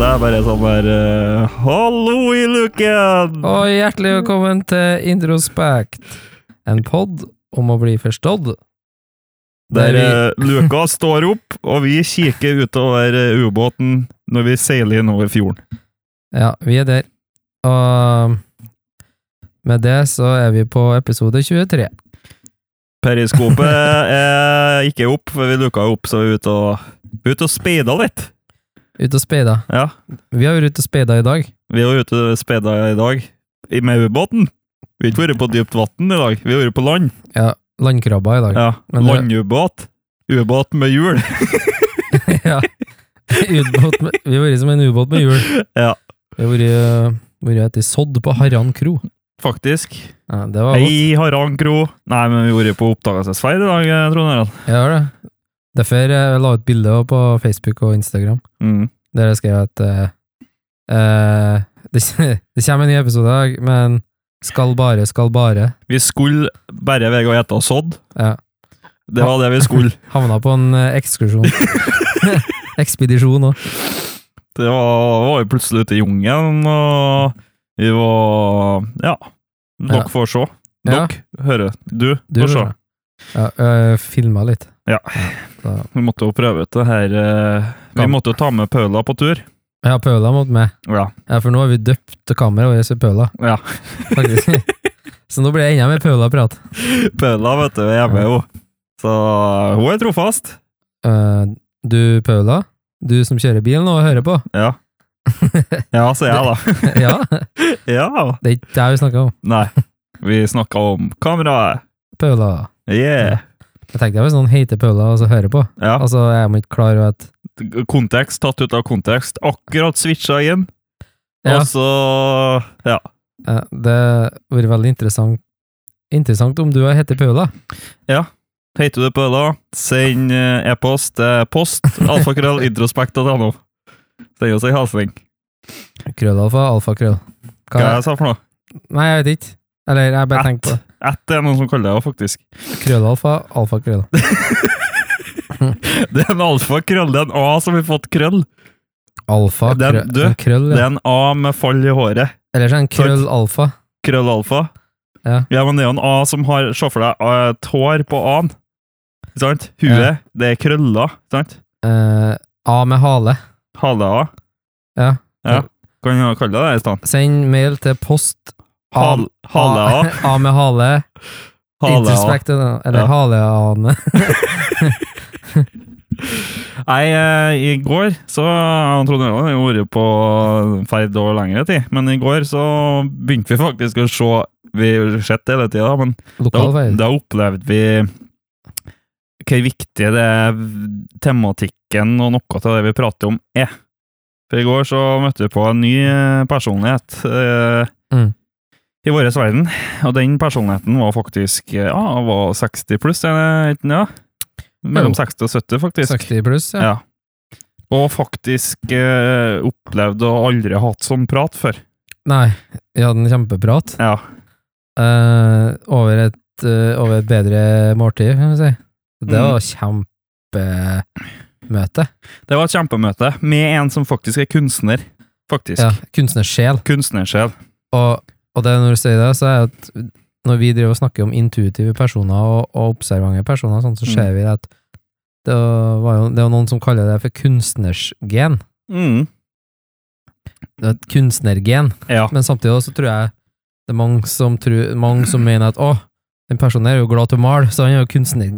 er bare sånn der eh, Hallo i luken! Mm. Og hjertelig velkommen til Introspect, en pod om å bli forstått. Der eh, luka står opp, og vi kikker utover eh, ubåten når vi seiler innover fjorden. eh, Ja, vi er der. Og med det så er vi på episode 23. Periskopet er ikke opp, for vi luka opp, så vi er ute og, ut og speida litt. Ute og speida. Ja, Vi har vært ute og speida i dag. vi er ute og speida i dag i- med ubåten. Vi har ikke vært på dypt vann i dag, vi har vært på land. Ja, landkrabba i dag. Ja, Men det- Landubåt. Ubåt med hjul. Ja. Ubåt med, vi har vært som en ubåt med hjul. Ja. Vi har vært, eh, vært etter sodd på Harran kro. Faktisk. Ja, det var godt. Hei, Harald Kro. Nei, men vi har vært på oppdagelsesferd i dag, eh, Trond Harald. Jeg har det. Derfor eh, la jeg ut bilde også på Facebook og Instagram. Mm. Der jeg skrev at eh, eh, det, det kommer en ny episode i dag, men skal bare, skal bare. Vi skulle bare vega og gjette og sådd. Ja. Det var det vi skulle. Havna på en eh, ekskursjon. Ekspedisjon òg. Det var, var jo plutselig ute i jungelen, og vi var Ja. Dere Ja. får se. Dere hører. Du, Du får se. skjønner. Ja, øh, Filma litt. Ja. da. Vi måtte jo prøve ut det her eh, Vi Kan- måtte jo ta med Paula på tur. Ja, Paula måtte med. Ja. Ja, for nå har vi døpt kameraet vårt til Paula, ja. faktisk. Så nå blir det enda mer Paula-prat. Paula, vet du, er hjemme, hun. Så hun er trofast. Eh, du, Paula, du som kjører bil nå og hører på. Ja. Ja, sier jeg, ja, da. Ja. det er ikke det vi snakker om. Nei. Vi snakka om kameraet. Paula. Yeah. Jeg tenkte hvis noen heter Paula sånn og så hører på. Ja. Altså, jeg må ikke klare at Kontekst tatt ut av kontekst. Akkurat switcha inn, Ja. og så Ja. Ja, Eh, det hadde vært veldig interessant Interessant om du heter Paula. Heter du Pøla, send eh, e-post til post alfakrøll introspekt.no. Send oss ei hilsning. Krøllalfa, alfakrøll. Hva Hva jeg sa for noe? Nei, jeg vet ikke. Eller jeg bare At. tenkte på Ett er noen som kaller det, faktisk. det. krøllalfa, alfakrøll. Det er en alfakrøll. Det er en A som har fått krøll. Alfa, Den- krøll, du, en krøll Det ja. er en A med fall i håret. Eller så er det en krøll alfa. Krøll alfa. Ja. men det er jo en A som har Se for deg eh, et hår på A-en. Ikke sant? Huet, Ja. det er krøller. Ikke sant? Eh, A med hale. Hale-A. Ja. ja. Kan du kalle det det i stedet? Send mail til post Hal- Hale-A. A med hale. Hale-A. Introspekt, Ja. eller haleane. Nei, eh, i går så han Trond Øyland har jo vært på ferd over lengre tid, men i går så begynte vi faktisk å se Vi har sett det hele tida, men da, Lokal feil. da opplevde vi hvor viktig det er tematikken og noe av det vi prater om, er. For i går så møtte vi på en ny eh, personlighet eh, Mm. i vår verden, og den personligheten var faktisk eh, ja, var 60 pluss, er det ikke det? Mellom 60 og 70, faktisk. 60 pluss, ja. Ja. Og faktisk eh, opplevd å aldri ha hatt sånn prat før. Nei, vi hadde en kjempeprat. Ja. Eh, over, et, eh, over et bedre måltid, kan vi si. Det var Mm. kjempemøte. Det var et kjempemøte med en som faktisk er kunstner. Faktisk. Ja, kunstnersjel. Kunstnersjel. Og, og det når du sier det, så er det at når vi driver og snakker om intuitive personer og, og observante personer, og sånn, så Mm. ser vi at det var jo det er jo noen som kaller det for kunstnersgen. Mm. Det er et kunstnergen. Ja. Men samtidig også så tror jeg det er mange som, tror, mange som mener at å, den personen er jo glad til å male, så han er jo kunstner,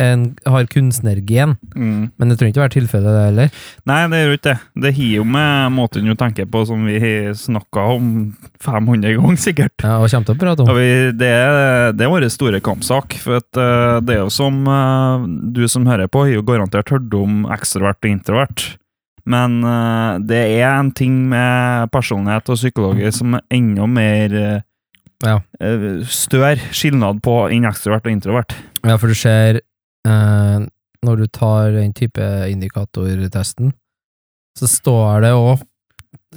en, har kunstnergen. Mm. Men det trenger ikke være tilfellet, det heller. Nei, det er jo ikke det. Det har jo med måten du tenker på, som vi har snakka om 500 ganger, sikkert. Ja, og kommer til å prate om. Ja, vi, det, er, det er vår store kampsak. For at, eh, det er jo som eh, du som hører på, har jo garantert hørt om ekstrovert og introvert. Men eh, det er en ting med personlighet og psykologi som er enda mer eh, Mm. Ja. eh, større skilnad på enn ekstrovert og introvert. Ja, for du ser eh, Når du tar den type indikatortesten, så står det òg,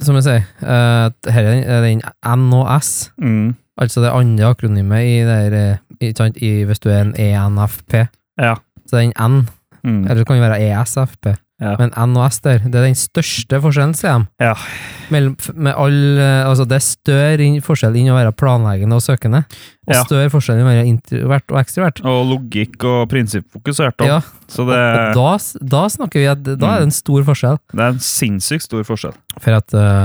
som jeg sier, eh, at her er den N og S, Mm. altså det andre akronymet i det her, eh, ikke sant, i hvis du er en E ENFP. Ja. Så den N, Mm. E eller det kan jo være ESFP, Ja. Men N og S der, det er den største forskjellen, sier de. Ja. Mellom, f- med all, eh, altså det er større inn- forskjell inn å være planleggende og søkende, og Ja. større forskjell inn å være introvert og ekstrovert. Og logikk og prinsippfokusert. da. Ja, Så og, det, Mm. og da, s- da snakker vi at da er det en stor forskjell. det er en sinnssykt stor forskjell. For at eh,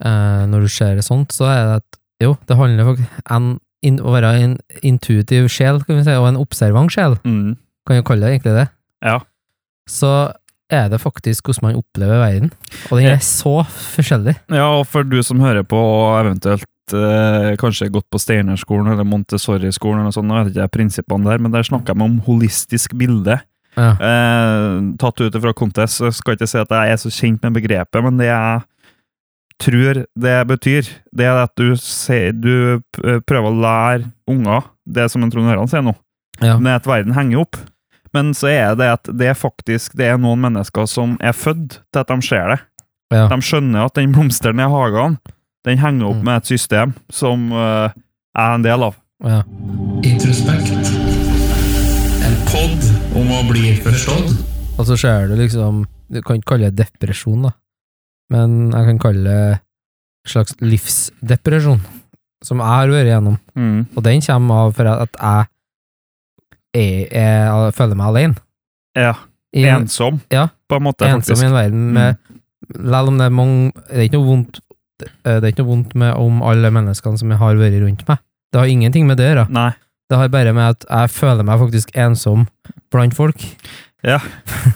eh, når du ser det sånt, så er det at jo, det handler om en, in, å være en intuitiv sjel, kan vi si, og en observant sjel, Mm. kan vi kalle det egentlig det. Ja. Så er det faktisk hvordan man opplever verden, og den er så forskjellig. Ja, og for du som hører på og eventuelt eh, kanskje gått på Steinerskolen eller Montessori-skolen, eller noe sånt, nå vet ikke jeg prinsippene der, men der snakker jeg om holistisk bilde. Ja. Eh, tatt ut fra Contest, så skal jeg ikke si at jeg er så kjent med begrepet, men det jeg tror det betyr, det er at du, ser, du p- eh, prøver å lære unger det som en Trond Høran sier nå, Ja. med at verden henger opp. Men så er det at det er faktisk det er noen mennesker som er født til at de ser det. Ja. De skjønner at den blomsteren i hagen, den henger opp Mm. med et system som eh, er en del av. Ja. Introspekt. En pod om å bli forstått. Og så ser du liksom Du kan ikke kalle det depresjon, da, men jeg kan kalle det en slags livsdepresjon, som jeg har vært igjennom. Mm. Og den kommer av for at jeg, jeg, jeg, føler meg alene. Ja, I en- ensom, Ja. på en måte. ensom i faktisk. en verden med Selv om det er mange Det er ikke noe vondt eh, det er ikke noe vondt med om alle menneskene som jeg har vært rundt meg. Det har ingenting med det å gjøre. Nei. Det har bare med at jeg føler meg faktisk ensom blant folk. Ja,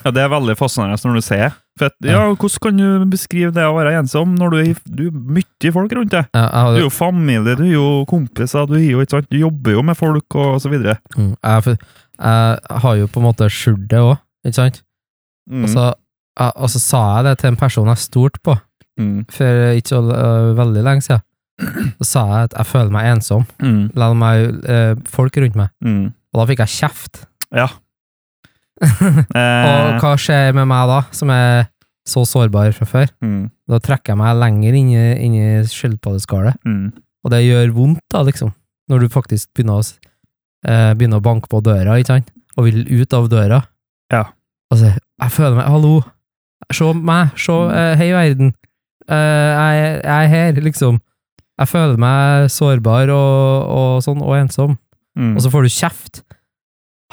det er veldig fascinerende når du ser det. For at, ja, hvordan kan du beskrive det å være ensom når du er, i- du er mye folk rundt deg? Jeg, jeg, Du er hadde- jo familie, du er jo kompiser, du, er jo, ikke sant? du jobber jo med folk og så videre. Mm, jeg, jeg har jo på en måte skjult det òg, ikke sant? Mm. Og, så, jeg, og så sa jeg det til en person jeg stolte på mm. for ikke så øh, veldig lenge siden. Så sa jeg at jeg føler meg ensom, Mm. selv om jeg har folk rundt meg. Mm. Og da fikk jeg kjeft. Ja. Og Eh, hva skjer med meg da, som er så sårbar fra før? mm. Da trekker jeg meg lenger inn i, inn i skjellpaddeskallet, Mm. og det gjør vondt da, liksom. Når du faktisk begynner å, s- eh, begynner å banke på døra, ikke sant? Og vil ut av døra. Ja. Altså, jeg føler meg, hallo, se meg, se, eh, hei verden. Eh, jeg, jeg er her, liksom. Jeg føler meg sårbar og, og sånn, og ensom Mm. og så får du kjeft.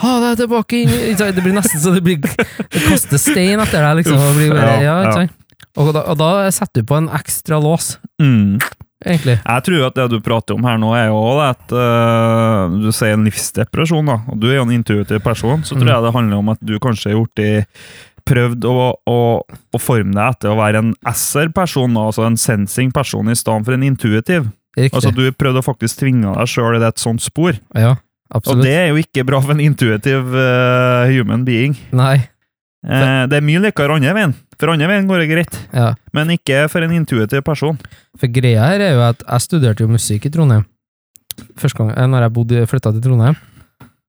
Ha deg tilbake inn i- ikke sant? Det blir nesten så det blir Det kaster stein etter deg, liksom. Og, det blir bare, Uff, ja, ja, ja. ikke sant? og, da, og da setter du på en ekstra lås, mm. egentlig. Jeg tror at det du prater om her nå, er jo også at eh, du sier en livsdepresjon, da. Og du er jo en intuitiv person, så Mm. tror jeg det handler om at du kanskje har gjort i Prøvd å, å, å forme deg etter å være en SR-person, da, altså en sensing-person, i stedet for en intuitiv. Riktig. Altså Du prøvde å faktisk tvinge deg sjøl i det et sånt spor, ja, og absolutt. det er jo ikke bra for en intuitiv eh, human being. Nei. Eh, det er mye likere andre veien. For andre veien går det greit, Ja. men ikke for en intuitiv person. For greia her er jo at jeg studerte jo musikk i Trondheim. Første gang, eh, når jeg bodde, flytta til Trondheim,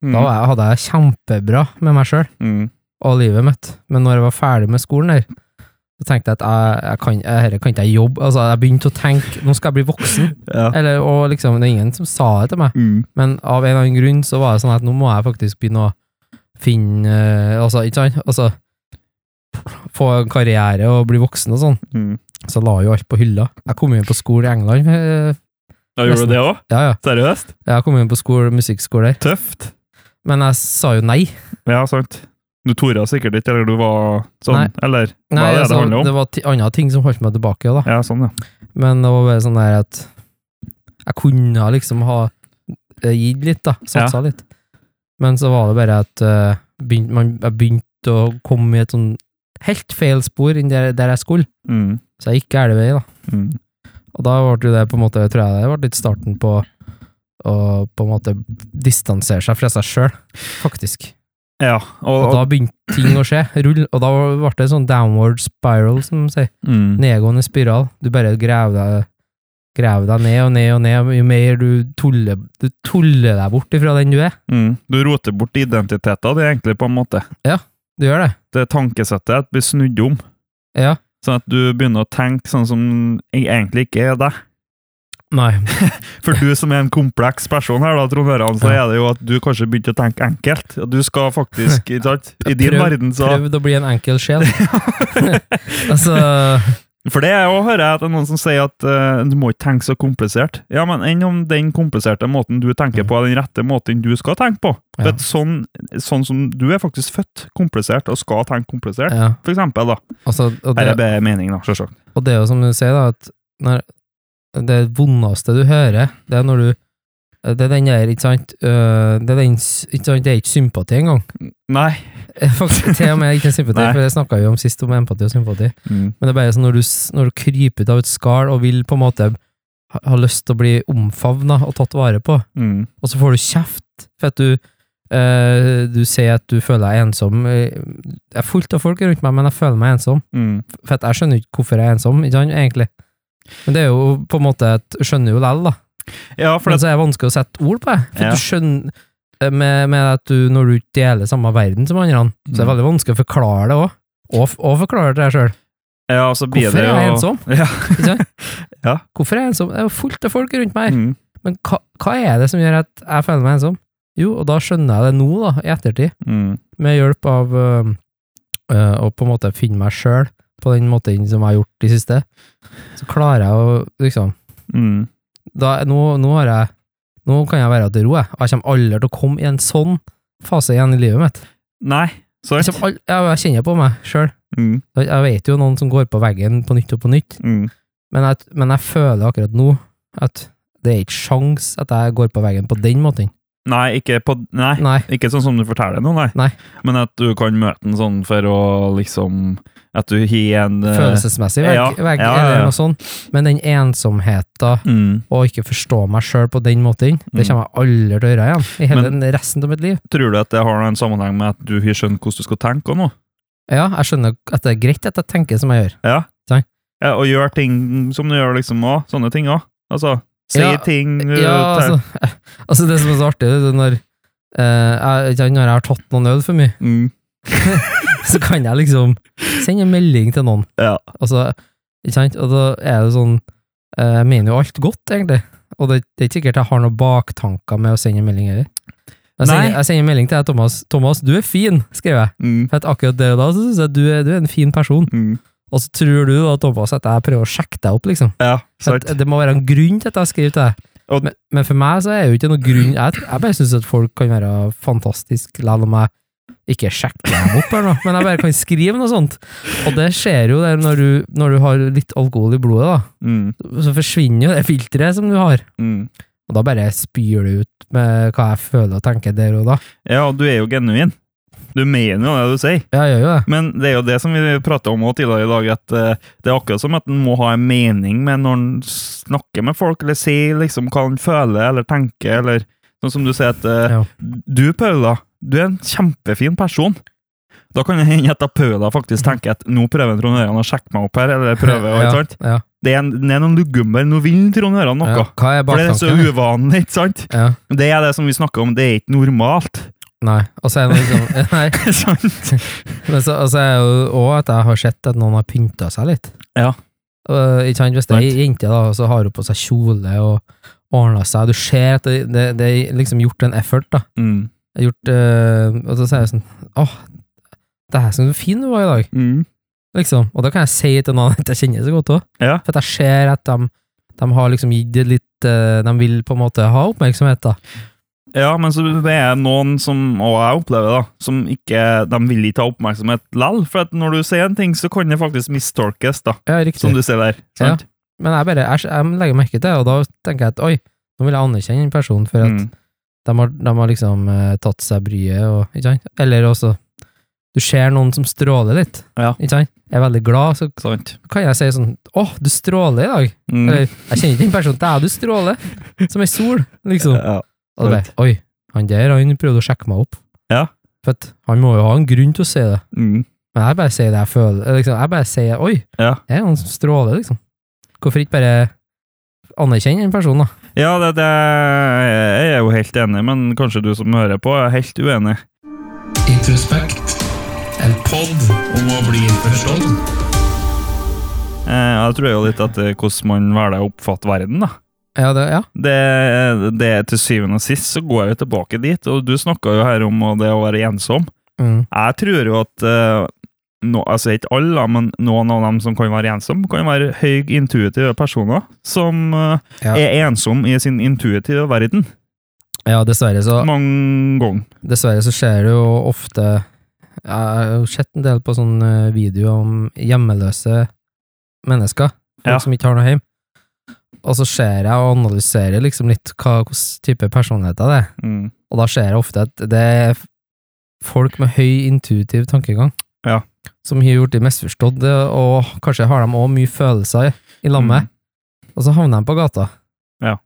Mm. da var jeg, hadde jeg kjempebra med meg sjøl Mm. og livet mitt. Men når jeg var ferdig med skolen der, så tenkte jeg at jeg, jeg kan, dette kan ikke jeg jobbe Altså, jeg begynte å tenke Nå skal jeg bli voksen. Ja. Eller, og liksom, det er ingen som sa det til meg, Mm. men av en eller annen grunn så var det sånn at nå må jeg faktisk begynne å finne eh, Altså, ikke sant? Altså, få en karriere og bli voksen og sånn. Mm. Så jeg la jo alt på hylla. Jeg kom inn på skole i England. eh, Da gjorde du det òg? Ja, ja. Seriøst? Jeg kom inn på skole, musikkskole der. Tøft. Men jeg sa jo nei. Ja, sant. Du torde sikkert ikke, eller du var sånn, Nei. eller hva nei er det altså, det handler om? det var ti- andre ting som holdt meg tilbake, da. Ja, sånn, ja. Men det var bare sånn der at jeg kunne liksom ha eh, gitt litt, da. Satsa litt. Men så var det bare at eh, begynt, man, jeg begynte å komme i et sånn helt feil spor enn der, der jeg skulle. Mm, Så jeg gikk gæren vei, da. mm, Og da ble jo det på en måte, tror jeg det ble litt starten på å på en måte distansere seg fra seg sjøl, faktisk. ja, Og og, da begynte ting å skje. Rull. Og da ble det en sånn downward spiral, som de sier og mm, nedgående spiral. Du bare graver deg, graver deg ned og ned og ned. Jo mer du tuller, du tuller deg bort ifra den du er. mm. Du roter bort identiteten, det er egentlig på en måte. Du gjør det. Det tankesettet blir snudd om, Ja. sånn at du begynner å tenke sånn som jeg egentlig ikke er deg. Nei. For du som er en kompleks person her, da, Trond Øran, så er det jo at du kanskje begynte å tenke enkelt. Og Du skal faktisk, ikke sant? I din Prøv- verden, så Prøvd å bli en enkel sjel. altså For det er jo, hører jeg at det er noen som sier at eh, du må ikke tenke så komplisert. Ja, men enn om den kompliserte måten du tenker på, er den rette måten du skal tenke på? Mm. Ja. For at sånn, sånn som du er faktisk født komplisert, og skal tenke komplisert, Ja. for eksempel, da. Altså, og, Her er det, bare meningen, da, selvsagt. og det er jo som du sier, da, at når, det vondeste du hører, det er når du Det er den der, ikke sant øh, Det er den, s- ikke sant, det er ikke sympati engang. Mm, Nei. Faktisk til og med ikke sympati, Nei. for det snakka vi om sist, om empati og sympati. Men det er bare sånn når du, s- når du kryper ut av et skall og vil på en måte ha, ha lyst til å bli omfavna og tatt vare på, Mm. og så får du kjeft for at du eh, du sier at du føler deg ensom. Jeg er fullt av folk rundt meg, men jeg føler meg ensom. Mm. For at jeg skjønner ikke hvorfor jeg er ensom, ikke sant, egentlig. Men det er jo på en måte at jeg skjønner jo lell, da. Ja, for Men det, så er det vanskelig å sette ord på det. For Ja. at du skjønner eh, med, med at du, når du ikke deler samme verden som andre, så er det Mm. veldig vanskelig å forklare det òg. Og, f- og forklare det til deg sjøl. ja, så blir Hvorfor det er jo jeg sånn? ensom? Ja. Ikke sant? Ja. Hvorfor er jeg ensom? Det er jo fullt av folk rundt meg. Mm. Men hva, hva er det som gjør at jeg føler meg ensom? Jo, og da skjønner jeg det nå, da, i ettertid, Mm. med hjelp av øh, øh, å på en måte finne meg sjøl på den måten som jeg har gjort de siste. Så klarer jeg å liksom Mm. da, nå, nå har jeg Nå kan jeg være til ro, jeg. Og jeg kommer aldri til å komme i en sånn fase igjen i livet mitt. Nei, Jeg, sant? kommer al- jeg, jeg kjenner på meg sjøl. Mm. Jeg vet jo noen som går på veggen på nytt og på nytt. Mm. Men jeg, men jeg føler akkurat nå at det er ikke sjans at jeg går på veggen på den måten. Nei, ikke på Nei. Nei. Ikke sånn som du forteller nå, nei. Nei. Men at du kan møte den sånn for å liksom At du har en eh, Følelsesmessig vegg, ja, vegg ja, ja, ja. eller noe sånt. Men den ensomheten mm. og ikke forstå meg sjøl på den måten, det kommer jeg aldri til å gjøre igjen. I hele den resten av mitt liv. Tror du at det har en sammenheng med at du har skjønt hvordan du skal tenke og noe? Ja, jeg skjønner at det er greit at jeg tenker som jeg gjør. Ja. Takk. ja og gjør ting som du gjør, liksom òg. Sånne ting òg. Altså, si Ja, ting du Ja, tar- altså, altså Det som er så artig, det er når, eh, jeg, ikke sant, når jeg har tatt noen øl for mye, mm. så kan jeg liksom sende en melding til noen. Ja. Altså, ikke sant? Og da er det sånn eh, Jeg mener jo alt godt, egentlig. Og det, det er ikke sikkert jeg har noen baktanker med å sende en melding heller. Nei. Jeg sender, jeg sender en melding til deg, Thomas. 'Thomas, du er fin', skriver jeg. Mm. For at akkurat det og da så synes jeg du er, du er en fin person. Mm. Og så tror du da, Thomas, at jeg prøver å sjekke deg opp, liksom. Ja, For at sant. det må være en grunn til at jeg skriver til deg. Og- Men, men for meg så er det jo ikke noen grunn Jeg, jeg bare syns at folk kan være fantastiske, selv om jeg ikke sjekker dem opp, eller noe, men jeg bare kan skrive noe sånt. Og det skjer jo der når du, når du har litt alkohol i blodet, da. Mm. Så forsvinner jo det filteret som du har. Mm. Og da bare spyr du ut med hva jeg føler og tenker der og da. Ja, og du er jo genuin. Du mener jo det du sier. Ja, jeg gjør jo det. Men det er jo det som vi prata om også tidligere i dag, at eh, det er akkurat som at en må ha en mening med når en snakker med folk, eller sier liksom hva en føler eller tenker, eller sånn som du sier at eh, Ja. Du, Paula, du er en kjempefin person. Da kan det hende at da Paula faktisk tenker at nå prøver Trond Øran å sjekke meg opp her, eller prøver, Mm. ja, ikke sant? ja, Det er, en, det er noen lugummer, nå vil Trond Øran noe. ja. Hva er For det er så baktanken? uvanlig, ikke sant? Ja. Det er det som vi snakker om, det er ikke normalt. Nei. Og så er det liksom Nei. sant? Men så altså, er jo òg at jeg har sett at noen har pynta seg litt. Ja. Og, ikke sant, Hvis det er ei Sant. jente, da, så har hun på seg kjole og ordna seg, du ser at det, det, det er liksom gjort en effort, da. Mm. Det er Gjort, eh, og så sier jeg sånn Åh, det her syns du fin du var i dag, Mm. liksom. Og da kan jeg si til noen at jeg kjenner så godt òg, Ja. for at jeg ser at de, de har liksom gitt det litt eh, De vil på en måte ha oppmerksomhet, da. Ja, men så det er noen som, og jeg opplever da, som ikke, de vil ikke ha oppmerksomhet lall, for at når du sier en ting, så kan det faktisk mistolkes da, Ja, riktig. som du ser der, sant? Men jeg bare jeg, jeg legger merke til det, og da tenker jeg at oi, nå vil jeg anerkjenne den personen for at Mm. De har, de har liksom eh, tatt seg bryet, og, ikke sant? Eller også Du ser noen som stråler litt, Ja. ikke sant? Jeg er veldig glad, så Sant? kan jeg si sånn Å, du stråler i dag! Mm. Eller jeg kjenner ikke den personen, det er du stråler! Som ei sol, liksom. Ja. Og det bare Oi, han der, han prøvde å sjekke meg opp. Ja. For at han må jo ha en grunn til å si det. Mm. Men jeg bare sier det jeg føler. eller Liksom. Jeg bare sier Oi, Ja. det er noen som stråler, liksom. Hvorfor ikke bare anerkjenne den personen, da? Ja, det, det, jeg er jo helt enig, men kanskje du som hører på er helt uenig. Introspekt. En pod om å bli forstått. Eh, Jeg tror jo litt at det er hvordan man velger å oppfatte verden da. Ja, det, ja. Det, det er Til syvende og sist så går jeg jo tilbake dit, og du snakka jo her om det å være ensom. Mm. Jeg tror jo at eh, nå- altså Ikke alle, da, men noen av dem som kan være ensomme, kan være høy intuitive personer som eh, Ja. er ensom i sin intuitive verden. ja, dessverre så Mange ganger. Dessverre så skjer det jo ofte Jeg har jo sett en del på sånne videoer om hjemmeløse mennesker. Folk Ja. som ikke har noe hjem. Og så ser jeg og analyserer liksom litt hva hvilken type personligheter det er. Mm. Og da ser jeg ofte at det er f- folk med høy intuitiv tankegang. Ja. Som har gjort de misforstått, og kanskje har de òg mye følelser i, i lag med. Og så havna de på gata. Mm. Ja.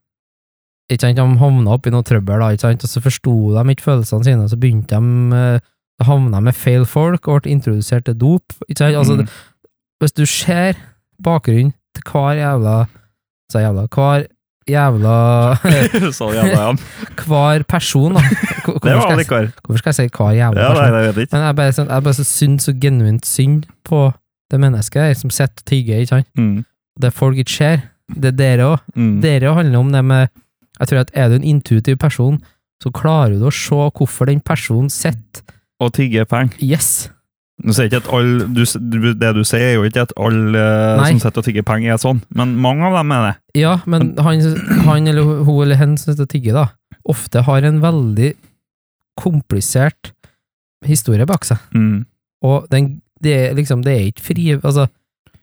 Ikke sant, De havna oppi noe trøbbel, da, ikke sant? og så forsto de ikke følelsene sine, og så begynte de eh, Da havna de med feil folk og ble introdusert til dop. Ikke sant? Altså, Mm. Hvis du ser bakgrunnen til hver jævla Sa jeg jævla Hver jævla Så jævla igjen. Hver person, da. Hvor- Det Hvorfor var skal, jeg, likar. hvorfor skal jeg si hver jævla Ja, nei, person? jeg vet ikke. Men jeg bare, sånn- jeg bare så synd, så genuint synd på det mennesket her som sitter og tigger, ikke sant. Mm. Det folk ikke ser, det er dere òg. Mm. Dere handler om det med Jeg tror at er du en intuitiv person, så klarer du å se hvorfor den personen sitter Og tigge penger. Yes! Nå sier jeg ikke at alle- du s- du- Det du sier, er jo ikke at alle eh, Nei. som sitter og tigger penger, er sånn, men mange av dem er det. Ja, men han, han eller hun- hun eller hen som sitter og tigger, da, ofte har en veldig komplisert historie bak seg. Mm. Og den, det, er liksom, det er ikke fri... Altså,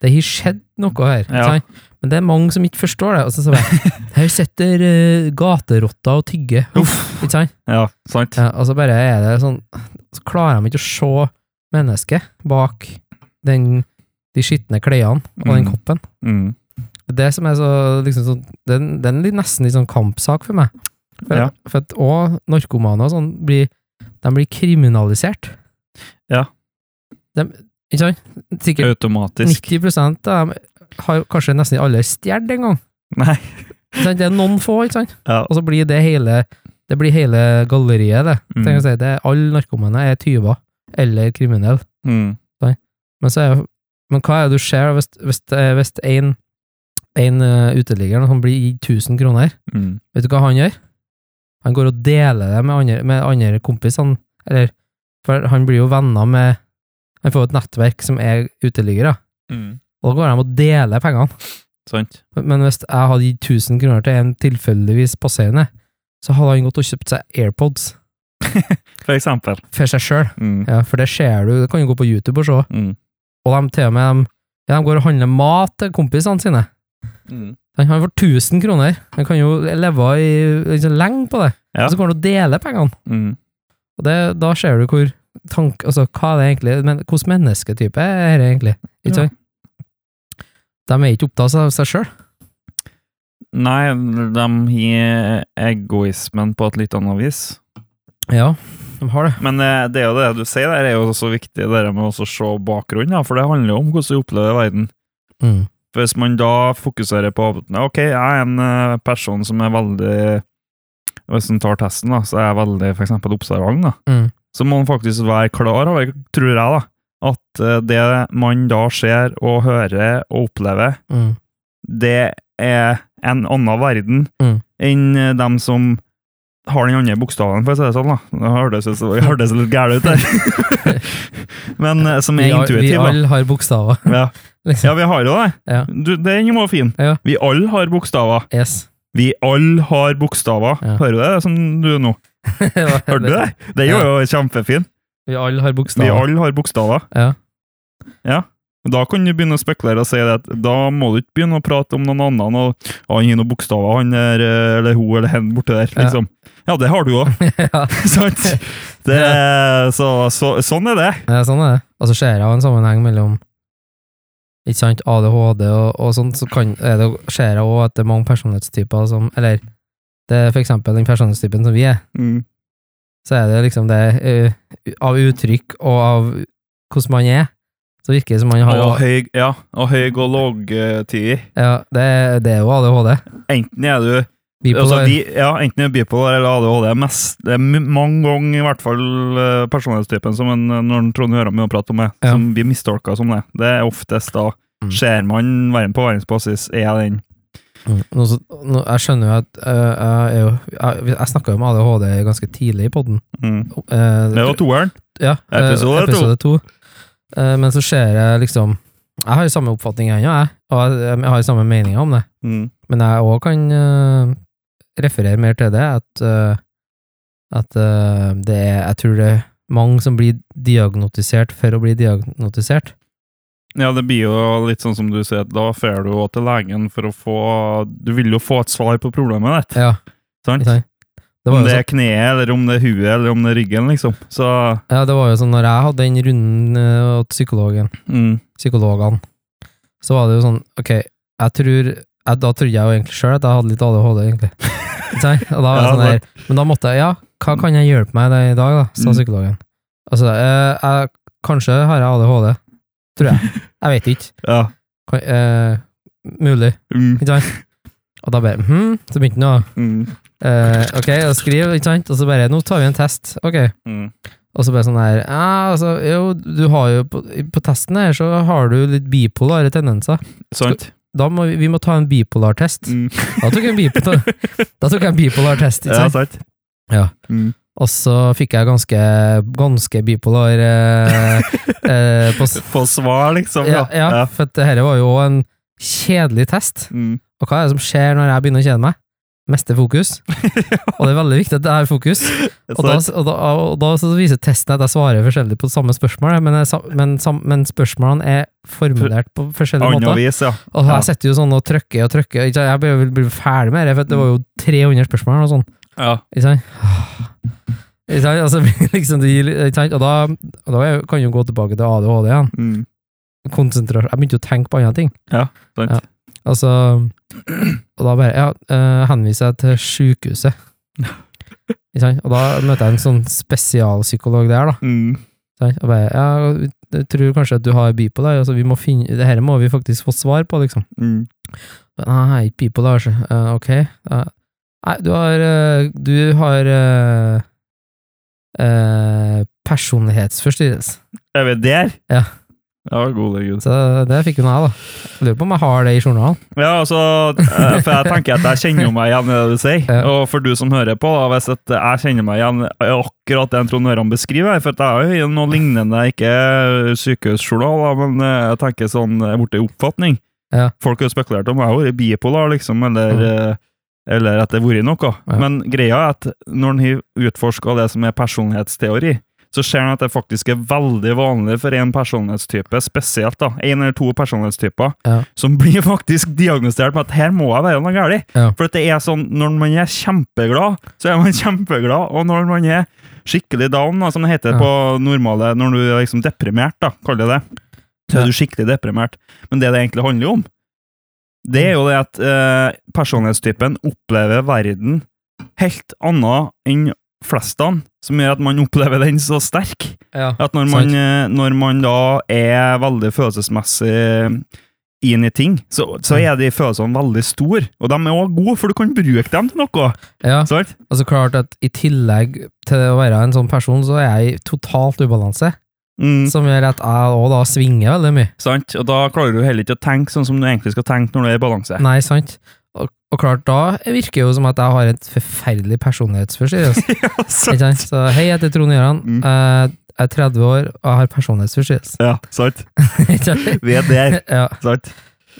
det har skjedd noe her. ikke Ja. sant? Men det er mange som ikke forstår det. Og så, så bare, her sitter uh, gaterotta og tygger. Ikke sant? Ja, sant? Ja, og så bare er det sånn Så klarer de ikke å se mennesket bak den, de skitne klærne og den Mm. koppen. Mm. Det er det som er så liksom sånn Det er- det er en litt- nesten litt sånn kampsak for meg. For, Ja. for at òg narkomane og sånn blir De blir kriminalisert. Ja. Dem- ikke sant? Sikkert Automatisk. 90 av dem har kanskje nesten alle stjålet en gang. Nei. Ikke sant? Det er noen få, ikke sant? Ja. Og så blir det hele det blir hele galleriet, det. Mm. Tenk å si, det er Alle narkomane er tyver eller kriminelle. Mm. Men, så er, jo- men hva er det du ser hvis, hvis, eh, hvis en, en eh, uteligger han blir gitt 1000 kroner? Mm. Vet du hva han gjør? Han går og deler det med andre, med andre kompisene. Eller, for han blir jo venner med Han får et nettverk som er uteliggere. Mm. Og da går de og deler pengene. Sant. Men hvis jeg hadde gitt 1000 kroner til en tilfeldigvis passerende, så hadde han gått og kjøpt seg AirPods For eksempel. for seg sjøl. Mm. Ja, for det ser du, det kan jo gå på YouTube og se. Mm. Og de til og med de, ja, de går og handler mat til kompisene sine. Mm. Han han får 1000 kroner. Han kan jo leve i, liksom, lenge på det. Ja. Og så går han og deler pengene. Mm. Og det, da ser du hvor tank, altså, hva er det egentlig, men, hvordan mennesketype er det egentlig? Ikke Ja. sant? De er ikke opptatt av seg sjøl. Nei, de har egoismen på et litt annet vis. Ja, de har det. Men eh, det er jo det du sier der, er jo også viktig, det der med også å se bakgrunnen, da, for det handler jo om hvordan du opplever verden. Mm. For Hvis man da fokuserer på at, Ok, jeg er en eh, person som er veldig Hvis man tar testen, da, så er jeg veldig for eksempel observant. da. Mm. Så må man faktisk være klar over, tror jeg, da, at eh, det man da ser og hører og opplever, Mm. det er en annen verden Mm. enn eh, dem som har den andre bokstaven, for å si det sånn. da. Det hørtes ut som- det hørtes litt gærent ut der. Men eh, som er Vi har- Vi intuitiv, da. alle har bokstaver, Ja. liksom. ja, vi har jo det. Ja. Du, den var fin. Ja. Vi alle har bokstaver. Yes. Vi alle har bokstaver. Ja. Hører du det, det som du nå? Hørte du det? Det er jo kjempefin. Vi alle har bokstaver. Vi alle har bokstaver. Ja. Ja. Da kan du begynne å spekulere og si det at da må du ikke begynne å prate om noen annen og «Å, han har noen bokstaver, han der, eh, eller hun eller hen borte der, Ja. liksom. Ja, det har du òg, ja. sant? Det, så, så, sånn er det. ja, sånn er det. Og så ser jeg jo en sammenheng mellom ikke sant, ADHD og, og sånt, så kan, er det, ser jeg også at det er mange personlighetstyper som Eller det er for eksempel den personlighetstypen som vi er, Mm. så er det liksom det eh, av uttrykk og av hvordan man er, så virker det som man har Og høy, ja, og høy og lågtider. ja, det, det er jo ADHD. Enten er du Altså, Bipolar. de, ja, enten er bipolar eller ADHD. er Mest, det er m- mange ganger i hvert fall eh, personlighetstypen som en, eh, når Trond hører meg og prater om det, Ja. som blir mistolka som det. Det er oftest da Mm. ser man verden på verdensbasis, er den Mm. Nå, så, nå, jeg skjønner jo at eh, jeg, er jo, jeg, jeg snakka jo om ADHD ganske tidlig i poden. Mm. Det var toeren. Ja, eh, Episode to. episode to. Eh, Men så ser jeg liksom Jeg har jo samme oppfatning ennå, jeg. Og jeg jeg har jo samme meninger om det. Mm. Men jeg òg kan eh, referere mer til det, at, eh, at eh, det er Jeg tror det er mange som blir diagnotisert for å bli diagnotisert. Ja, det blir jo litt sånn som du sier, da drar du også til legen for å få Du vil jo få et svar på problemet ditt, Ja, sant? ikke sant? Det om var jo det sånn, er kneet, eller om det er huet, eller om det er ryggen, liksom. Så ja, det var jo sånn når jeg hadde den runden eh, hos psykologen mm, psykologene, så var det jo sånn, ok, jeg tror, jeg, da trodde jeg jo egentlig selv at jeg hadde litt ADHD, egentlig. Ikke sant? Og da var jeg Ja, sånn der, men da måtte jeg, ja, hva kan jeg hjelpe meg med i dag, da, sa Mm. psykologen. Altså, eh, jeg, kanskje har jeg ADHD, tror jeg. Jeg vet ikke. ja. Kan, eh, mulig, Mm, ikke sant? Og da bare, hm, så begynte han å, mm, eh, ok, og skriv, ikke sant? Og så bare, nå tar vi en test, ok. mm, Og så bare sånn her ja, altså, Jo, du har jo på, på testen her så har du litt bipolare tendenser. sant? Da må vi, vi må ta en bipolartest. Mm, Da tok jeg en bipolar, da tok jeg en bipolartest, ikke ja, sant? sant? Ja. Mm, Og så fikk jeg ganske, ganske bipolar eh, eh, på, s- få svar, liksom. ja, ja, ja. for at dette var jo en kjedelig test. Mm, Og hva er det som skjer når jeg begynner å kjede meg? Mister fokus. Og det er veldig viktig at jeg har fokus. Og da, sant? og da, og da så viser testen at jeg svarer forskjellig på samme spørsmål, men, jeg, sa- men, sam- men spørsmålene er formulert på forskjellige Annet måter. vis, ja. Og ja. jeg sitter jo sånn og trykker og trykker. Ikke? sant? Jeg blir, blir ferdig med det, for det var jo 300 spørsmål og sånn. ja. Ikke sant? Ikke sant? Altså, liksom, det gir litt- ikke sant? Og da, og da er- kan jeg jo gå tilbake til ADHD igjen. Mm, Konsentrasjon. Jeg begynte jo å tenke på andre ting. sant? Ja. Altså, og da bare, ja, eh, henviser jeg til sykehuset. Ikke sant? Og da møter jeg en sånn spesialpsykolog der, da. Mm, Ikke sant? Og bare, ja, vi- jeg tror kanskje at du har bipolar, altså vi må finne, det her må vi faktisk få svar på, liksom. mm, Nei, ikke bipolar, altså. Eh, ok. Ja. nei, du har, eh, du har eh, eh, personlighetsforstyrrelse. Er vi der? Ja. Ja, gode gud. Så det fikk hun av, da. Jeg Lurer på om jeg har det i journalen. Ja, altså, eh, for jeg tenker at jeg kjenner jo meg igjen i det du sier. Ja. Og for du som hører på, da, hvis at jeg kjenner meg igjen i akkurat det Trond Øran beskriver, her, for at jeg har jo noe lignende, ikke sykehusjournal, da, men eh, jeg tenker sånn eh, borti oppfatning. Ja. Folk har jo spekulert om jeg har vært bipolar, liksom, eller, eh, eller at det har vært noe. Ja. Men greia er at når en har utforska det som er personlighetsteori, så ser en at det faktisk er veldig vanlig for én personlighetstype, spesielt da, én eller to personlighetstyper, Ja. som blir faktisk diagnostisert med at her må jeg være noe galt. Ja. For at det er sånn, når man er kjempeglad, så er man kjempeglad, og når man er skikkelig down, da, som det heter Ja. på normale, når du er liksom deprimert, da, kall det det, så Ja. er du skikkelig deprimert. Men det det egentlig handler om, det er jo det at eh, personlighetstypen opplever verden helt annet enn flestene, som gjør at man opplever den så sterk. Ja. At når man, Sant. eh, når man da er veldig følelsesmessig eh, inn i ting, så, så Mm. er de følelsene veldig store. Og de er også gode, for du kan bruke dem til noe. ja. Sant? Og så klart at i tillegg til å være en sånn person, så er jeg i totalt ubalanse. Mm, Som gjør at jeg òg da svinger veldig mye. sant? Og da klarer du heller ikke å tenke sånn som du egentlig skal tenke når du er i balanse. Nei, sant? Og, og klart, da virker det jo som at jeg har et forferdelig personlighetsforstyrrelse. Ja, ikke sant? sant? så hei, jeg heter Trond Gjøran. Mm. Eh, Jeg er 30 år og jeg har personlighetsforstyrrelse. Ja, sant? Ikke sant? Vi er der. ja. Sant?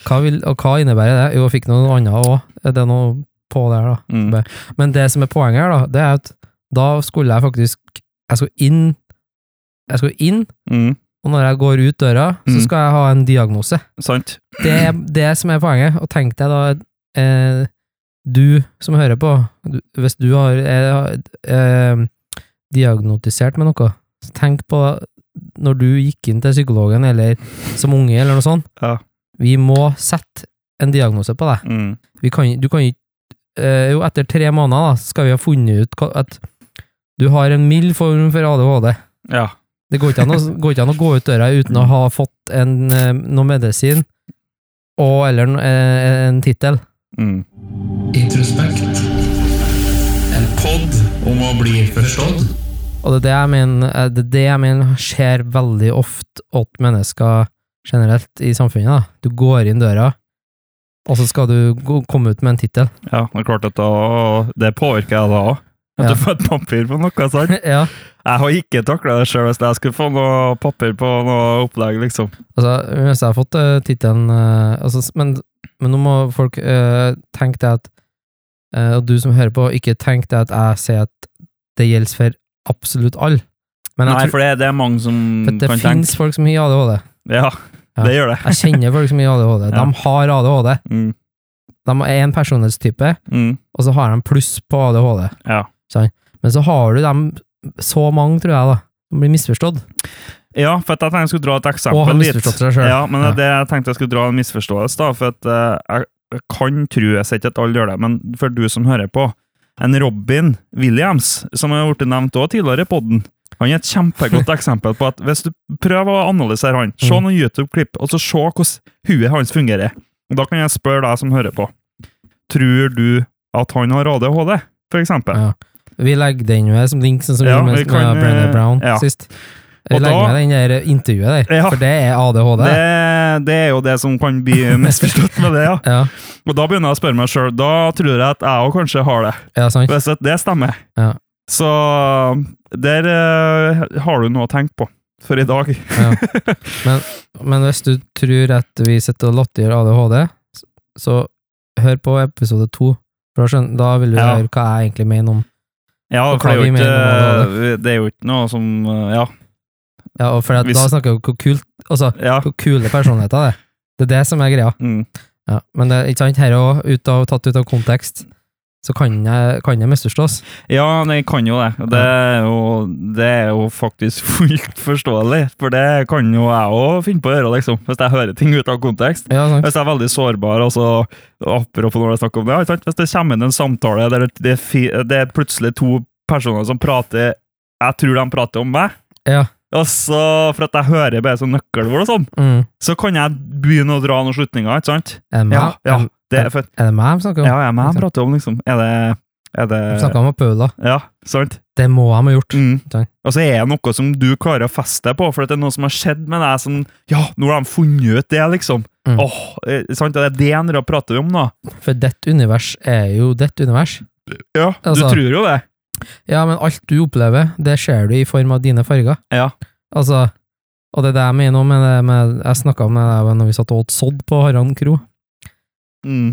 hva vil, og hva innebærer det? Jo, jeg fikk noe annet òg. Det er noe på der, da. Mm. Men det som er poenget her, da, det er at da skulle jeg faktisk Jeg skulle inn Jeg skulle inn, Mm. og når jeg går ut døra, så Mm. skal jeg ha en diagnose. Sant? det er det som er poenget. Og tenk deg da, eh, du som hører på, du, hvis du har eh, eh, diagnotisert med noe, så tenk på når du gikk inn til psykologen, eller som unge, eller noe sånt. Ja. Vi må sette en diagnose på deg. Mm. Vi kan, du kan ikke eh, Jo, etter tre måneder da, så skal vi ha funnet ut hva, at du har en mild form for ADHD. Ja. Det går ikke an å, går ikke an å gå ut døra uten å ha fått en, eh, noe medisin og eller en, eh, en tittel. Mm. Introspekt. En pod om å bli forstått. Og det er det jeg mener, eh, det, er det jeg mener skjer veldig ofte åt mennesker generelt i samfunnet. Da. Du går inn døra, og så skal du gå- komme ut med en tittel. Ja, det er klart at da, det påvirker jeg da òg. At Ja. du får et papir på noe sånt. ja. Jeg har ikke takla det sjøl hvis jeg skulle få noe papir på noe opplegg, liksom. Altså, hvis jeg har fått uh, tittelen eh, altså, s- men, men nå må folk eh, tenke deg at eh, Og du som hører på, ikke tenk deg at jeg sier at det gjelder for absolutt alle. Men jeg Nei, tror, for det, det er mange som for det Mm, kan finnes tenke. folk som har ADHD. Ja, Ja. det gjør det. Jeg kjenner folk som har ADHD. Ja. De har ADHD. Mm. De er en personlighetstype, Mm. og så har de pluss på ADHD. Ja. Sant? Men så har du dem så mange, tror jeg, da. De blir misforstått. Ja, for at jeg tenkte jeg skulle dra et Og har eksempel dit. misforstått seg sjøl. Ja, men det Ja. er det jeg tenkte jeg skulle dra en misforståelse, da. For at eh, jeg kan tro Jeg sier ikke at alle gjør det, men for du som hører på. En Robin Williams, som har blitt nevnt også tidligere i podden, han er et kjempegodt eksempel på at hvis du prøver å analysere han, se Mm. noen YouTube-klipp, og så se hvordan huet hans fungerer. Og Da kan jeg spørre deg som hører på. Tror du at han har ADHD, for eksempel? Ja. Vi legger den jo her som link, sånn som Ja, vi gjorde vi med kan, med Brené eh, Brown ja. sist. Vi Og legger da- med den der intervjuet der, Ja. for det er ADHD. Det, det er jo det som kan bli misforstått med det, ja. Ja, Og da begynner jeg å spørre meg sjøl. Da tror jeg at jeg òg kanskje har det. ja, sant. Hvis at det stemmer. Ja. Så der eh, har du noe å tenke på for i dag. Ja. Men, men hvis du tror at vi sitter og latterliggjør ADHD, s- så hør på episode to. For da, skjønner, da vil du Ja. høre hva jeg egentlig mener om Ja, Og for det hva er vi jo mener ikke, det er jo ikke noe som eh, Ja. ja, og for at, Hvis- Da snakker vi om hvor kult Altså, ja. hvor kule personligheter det er. Det er det som er greia. Mm. Ja. Men det, ikke sant, her òg, ut av- tatt ut av kontekst, så kan jeg, kan jeg misforstås. ja, det kan jo det. Det er jo, det er jo faktisk fullt forståelig. For det kan jo jeg òg finne på å gjøre, liksom. Hvis jeg hører ting ut av kontekst. Ja, sant. Hvis jeg er veldig sårbar, altså, apropos når det er snakk om det, ja, ikke sant? hvis det kommer inn en samtale der det, er fi- det er plutselig to personer som prater Jeg tror de prater om meg, Ja. og så for at jeg hører bare sånn nøkkelord og sånn, Mm. så kan jeg begynne å dra noen slutninger, ikke sant? Er det meg, Ja, ja. er- Det er for, Er det meg de snakker om? ja, jeg, jeg prater om, liksom. Er det, er det De snakker om Paula. Ja, sant? Det må de ha gjort. Mm. Takk. Og så er det noe som du klarer å feste deg på, for at det er noe som har skjedd med deg som Ja, nå har de funnet ut det, liksom. Mm. Åh, eh, sant? Det er det han drar og prater om, da. For ditt univers er jo ditt univers. Ja, du Altså- tror jo det. Ja, men alt du opplever, det ser du i form av dine farger. Ja. Altså, og det er det jeg mener med det med Jeg snakka med deg når vi satt og åt sodd på Harald Kro. Mm.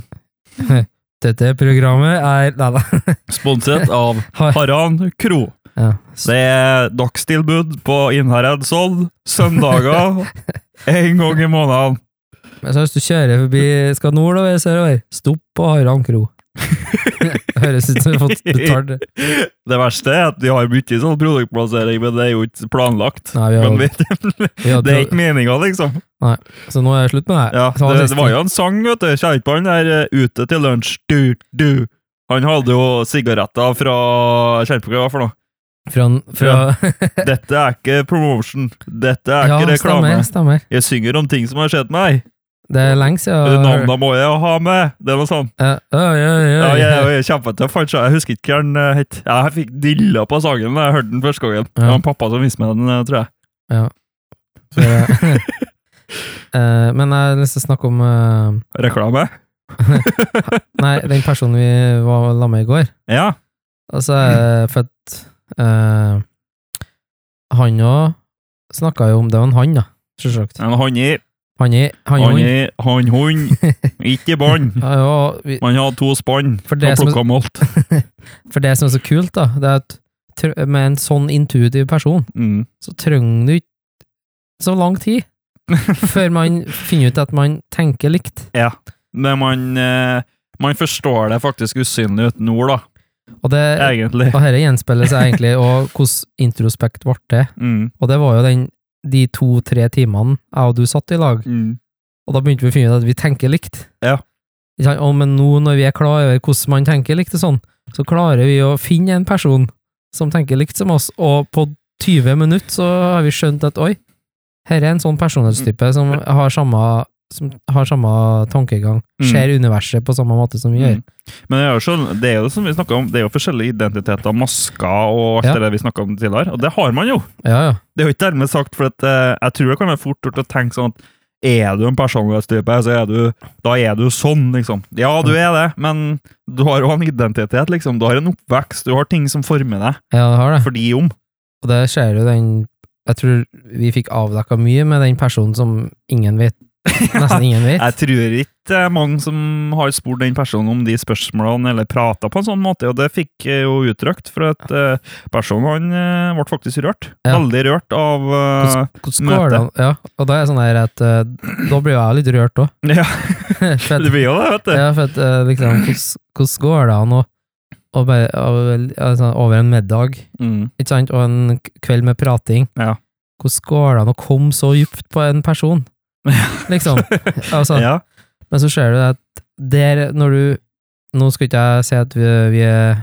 Dette programmet er Nei, nei. Sponset av Har- Haran Kro. Ja. Det er dagstilbud på Innherred Sodd søndager en gang i måneden. Men så hvis du kjører forbi skal nordover, sørover, stopp på Harald Kro. Høres ut som du har fått betalt. Det verste er at vi har mye sånn produktplassering, men det er jo ikke planlagt. Nei, vi har, Men vi, vi har, det er ikke meninga, liksom. Så nå er det slutt med det. Ja, Så han det, siste- det var jo en sang, vet du. Kjente på han der eh, 'Ute til lunsj', du, du. Han hadde jo sigaretter fra Kjente på hva det var for noe. Fra, fra, Dette er ikke promotion. Dette er ja, ikke reklame. stemmer. stemmer. Jeg synger om ting som har skjedd meg. Det er lenge Det siden. Navnet må jeg ha med! Det var sånn. Ja, ja, ja, ja, Ja, ja. jeg, jeg, kjempetøff, han sa. Jeg husker ikke hva han eh, het. Jeg fikk dilla på sangen da jeg hørte den første gangen. Det Ja. var en pappa som viste meg den, eh, tror jeg. Så, eh, men jeg har lyst til å snakke om eh, Reklame? Nei, den personen vi var sammen med i går. Ja. Altså, eh, for at eh, Han òg snakka jo om Det var en han, da. Selvsagt. En håndi. Han i Han i Håndi, håndhund. Ikke bånd. Ja, ja, vi- Man hadde to spann For og det som- plukka malt. For det som er så kult, da, det er at tr- med en sånn intuitiv person, Mm. så trenger du ikke så lang tid før man finner ut at man tenker likt. Men man, eh, man forstår det faktisk usynlig uten ord, da. Og det Egentlig. Og dette gjenspeiler seg egentlig og hvordan introspekt ble til. Mm. Og det var jo den, de to-tre timene jeg og du satt i lag, Mm. og da begynte vi å finne ut at vi tenker likt. Ja. Ikke sant? Og men nå når vi er klar over hvordan man tenker likt og sånn, så klarer vi å finne en person som tenker likt som oss, og på 20 minutter så har vi skjønt at oi, her er en sånn personlighetstype som har samme som har samme tankegang, Mm. ser universet på samme måte som vi gjør. Mm. Men det er, jo sånn- det er jo det som vi snakket om, det er jo forskjellige identiteter, masker og alt Ja. det der vi snakka om tidligere, og det har man jo. Ja, ja. Det er jo ikke dermed sagt, for at, eh, jeg tror det kan være fort gjort å tenke sånn at Er du en personlighetstype, så er du, da er du sånn, liksom. Ja, du er det, men du har jo en identitet, liksom. Du har en oppvekst, du har ting som former deg. Ja, det har det. For de om. Og det skjer jo den Jeg tror vi fikk avdekka mye med den personen som ingen vet. Nesten ingen Jeg vet. tror ikke det er mange som har spurt den personen om de spørsmålene, eller prata på en sånn måte, og det fikk jeg jo uttrykt, for at eh, personen han eh, ble faktisk rørt. Ja. Veldig rørt av eh, Hvordan går det an? Ja, og da er jeg sånn her at eh, Da blir jo jeg litt rørt òg. Ja, det blir jo det, vet du. Ja, for at, eh, liksom, hvordan- hvordan går det an å, å bare, å- altså, over en middag Mm. ikke sant, og en k- kveld med prating Ja. Hvordan går det an å komme så dypt på en person? Liksom. Altså, Ja. Men så ser du at der, når du Nå skal ikke jeg si at vi, vi er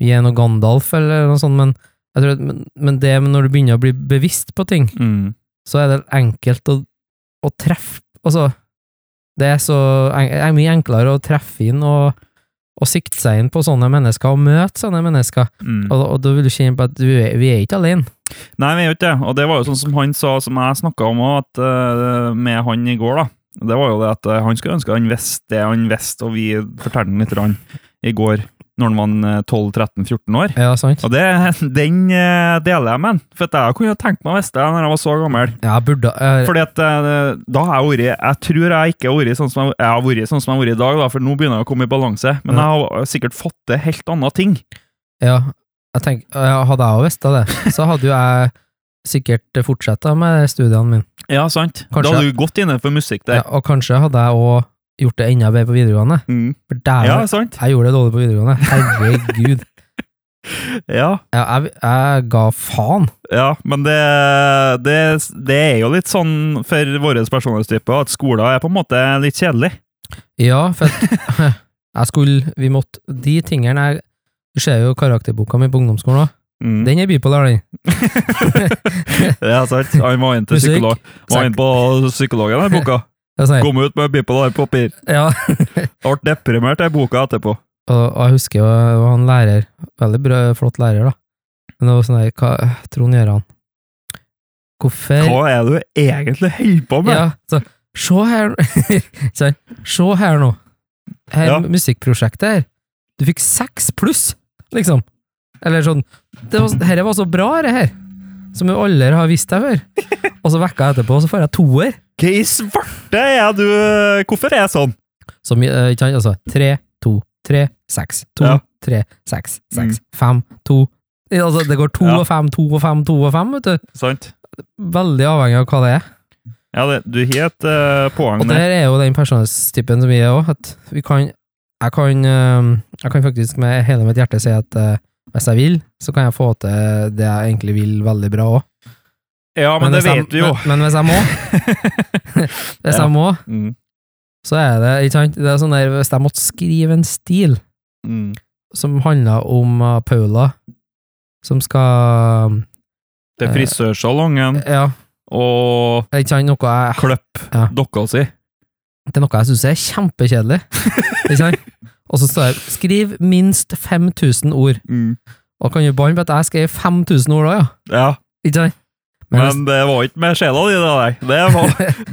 vi er noe Gandalf eller noe sånt, men, jeg tror at, men, men det med når du begynner å bli bevisst på ting, Mm. så er det enkelt å, å treffe Altså, det er så en- er mye enklere å treffe inn og, og sikte seg inn på sånne mennesker og møte sånne mennesker, Mm. og, og da vil du kjenne på at du er, vi er ikke alene. Nei, vi er jo ikke det. Og det var jo sånn som han sa, som jeg snakka om også, at, eh, med han i går. da. Det var jo det at eh, han skulle ønske han visste det han visste, og vi fortalte han litt grann i går, når han var eh, 12-13-14 år. Ja, sant? Og det, den eh, deler jeg med han, for at jeg kunne jo tenkt meg å vite det når jeg var så gammel. Ja, jeg burde jeg, Fordi at eh, da har jeg vært Jeg tror jeg ikke har vært sånn som jeg, jeg har vært sånn som jeg har vært i dag, da, for nå begynner jeg å komme i balanse. Men jeg har sikkert fått til helt andre ting. Ja, jeg tenker, ja, hadde jeg også visst av det, så hadde jo jeg sikkert fortsetta med studiene mine. Ja, sant. Kanskje. Da hadde du gått innenfor musikk Ja, der. og kanskje hadde jeg òg gjort det enda bedre på videregående. Mm. For der, ja sant. jeg gjorde det dårlig på videregående. Herregud. Ja. Jeg, jeg, jeg ga faen. Ja, men det, det, det er jo litt sånn for våre personlighetstyper at skolen er på en måte litt kjedelig. Ja, for at jeg skulle Vi måtte De tingene jeg Du ser jo karakterboka mi på ungdomsskolen òg. Mm. Den er bipolar, den. Ja, sant. Han var inne til Musikk. psykolog. Var inne på psykologen i boka. Det er sånn her. Kom ut med bipolar papir. Ja. Ble deprimert i boka etterpå. Og, og jeg husker jo det var en lærer, veldig bra, flott lærer, da. Men det var sånn der, hva Trond Gjøran Hvorfor Hva er det du egentlig holder på med? Eh. Ja, så Se her Ikke sant? Se her nå. Her Ja. musikkprosjektet her. Du fikk seks pluss, liksom. Eller sånn det var, Dette var så bra, det her. Som jo aldri har visst deg før. Og så vekka jeg etterpå, og så får jeg toer. Hva i svarte er du Hvorfor er jeg sånn? Som, eh, ikke sant, altså tre, to, tre, seks. To, Ja. Mm. tre, seks, seks. Fem, to Ja, Altså, det går to Ja. og fem, to og fem, to og fem, vet du. Sant? Veldig avhengig av hva det er. Ja, det, du har et eh, poeng Og der. der er jo den personlighetstypen som vi er òg, at vi kan jeg kan, øhm, jeg kan faktisk med hele mitt hjerte si at øh, hvis jeg vil, så kan jeg få til det jeg egentlig vil, veldig bra òg. Ja, men, det vet du jo. Men, men hvis jeg må, hvis Ja. jeg må, Mm. så er det ikke sant? Det er sånn der, Hvis jeg måtte skrive en stil Mm. som handler om øh, Paula, som skal Til Eh. frisørsalongen Ja, og ikke sant? Noe jeg klipp Ja. dokka si. Det er noe jeg syns er kjempekjedelig. Ikke sant? Og så står det 'skriv minst 5000 ord'. Mm. Og kan jo banne på at jeg skrev 5000 ord da, ja. Ja. Ikke sant? Men, Men det var ikke med sjela di, det der. Det var,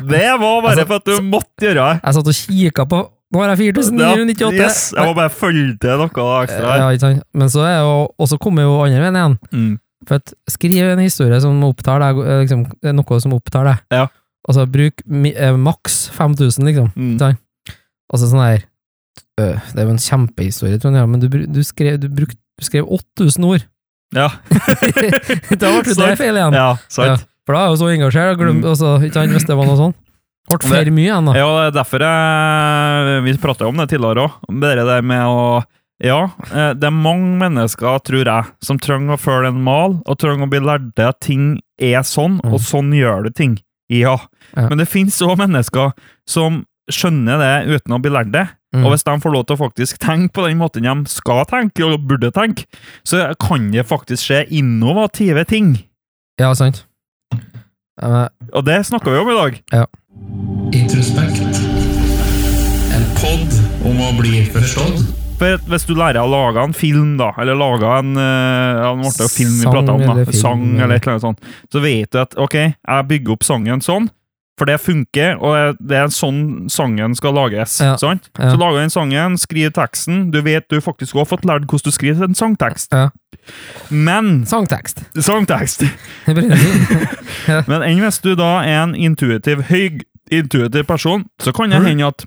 det var bare Altså, for at du måtte gjøre det. jeg satt og kikka på Nå har jeg 4998! Ja, yes, jeg må bare følge til noe ekstra her. ja, ikke sant? Men så er jo Og så kommer jo andre veien igjen. Mm. For at skriv en historie som opptar deg, eh, liksom, eh, noe som opptar deg. Ja. Og så bruk mi, eh, maks 5000, liksom. Mm. Og så sånn her øh, Det er jo en kjempehistorie, tror jeg, men du, bru- du skrev, du brukte du skrev 8000 ord! Ja. da ble det Sant. feil igjen! ja, sant. For da er jeg jo så engasjert, og glem, Mm. og så, ikke sant, hvis det var noe sånn. Ble Det- for mye igjen, da. Ja, det er derfor jeg, vi prata om det tidligere òg, om det der med å ja, eh, det er mange mennesker, tror jeg, som trenger å følge en mal, og trenger å bli lært at ting er sånn, Mm. og sånn gjør du ting. Ja. Ja. Men det finnes òg mennesker som skjønner det uten å bli lært det. Mm. Og hvis de får lov til å faktisk tenke på den måten de skal tenke, og burde tenke, så kan det faktisk skje innovative ting. Ja, sant. Eh, Og det snakka vi om i dag. Introspekt. En pod om å bli forstått. For hvis du lærer å lage en film, da, eller lage en, eh, ja, nå ble det jo film vi Sang pratet om, da, eller film, sang eller eller- et eller annet sånt, så vet du at ok, jeg bygger opp sangen sånn, For det funker, og det er sånn sangen skal lages. Ja. sant? Ja. Så lager du den sangen, skriver teksten. Du vet du faktisk også har fått lært hvordan du skriver en sangtekst. Ja. Men Sangtekst. sangtekst! Det blir det. Men enn hvis du da er en intuitiv, høy intuitiv person, så kan det hende at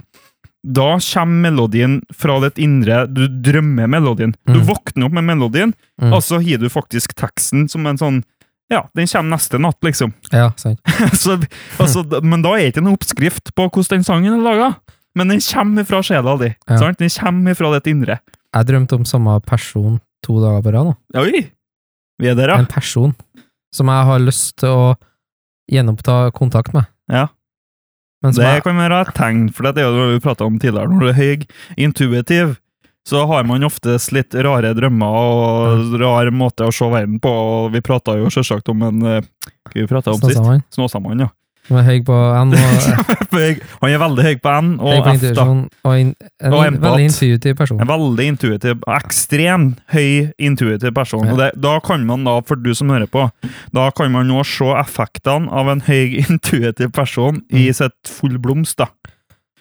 da kommer melodien fra ditt indre. Du drømmer melodien. Du Mm. våkner opp med melodien, Mm. og så har du faktisk teksten som en sånn Ja, den kommer neste natt, liksom. Ja, sant. så, altså, d- men da er det ikke en oppskrift på hvordan den sangen er laga. Men den kommer fra sjela di. Ja. Sant? Den kommer fra ditt indre. Jeg drømte om samme person to dager på rad. nå. Oi! Vi er der, ja. En person som jeg har lyst til å gjenoppta kontakt med. Ja. Men som Det jeg, kan være et tegn, for det er jo det vi prata om tidligere. Når du er høy, intuitiv, så har man oftest litt rare drømmer og rar måte å se verden på. og Vi prata jo selvsagt om en eh, Hva vi prata om sist? Snåsamannen, Snåsamannen, ja. som er høy på N og han er veldig høy på N høy og på F, da. intuisjon, sånn- og in, en Og empat. veldig intuitiv person. En veldig intuitiv, ekstrem høy intuitiv person. Ja. Og det, da kan man da, for du som hører på, da kan man nå se effektene av en høy intuitiv person i Mm. sitt full blomst, da.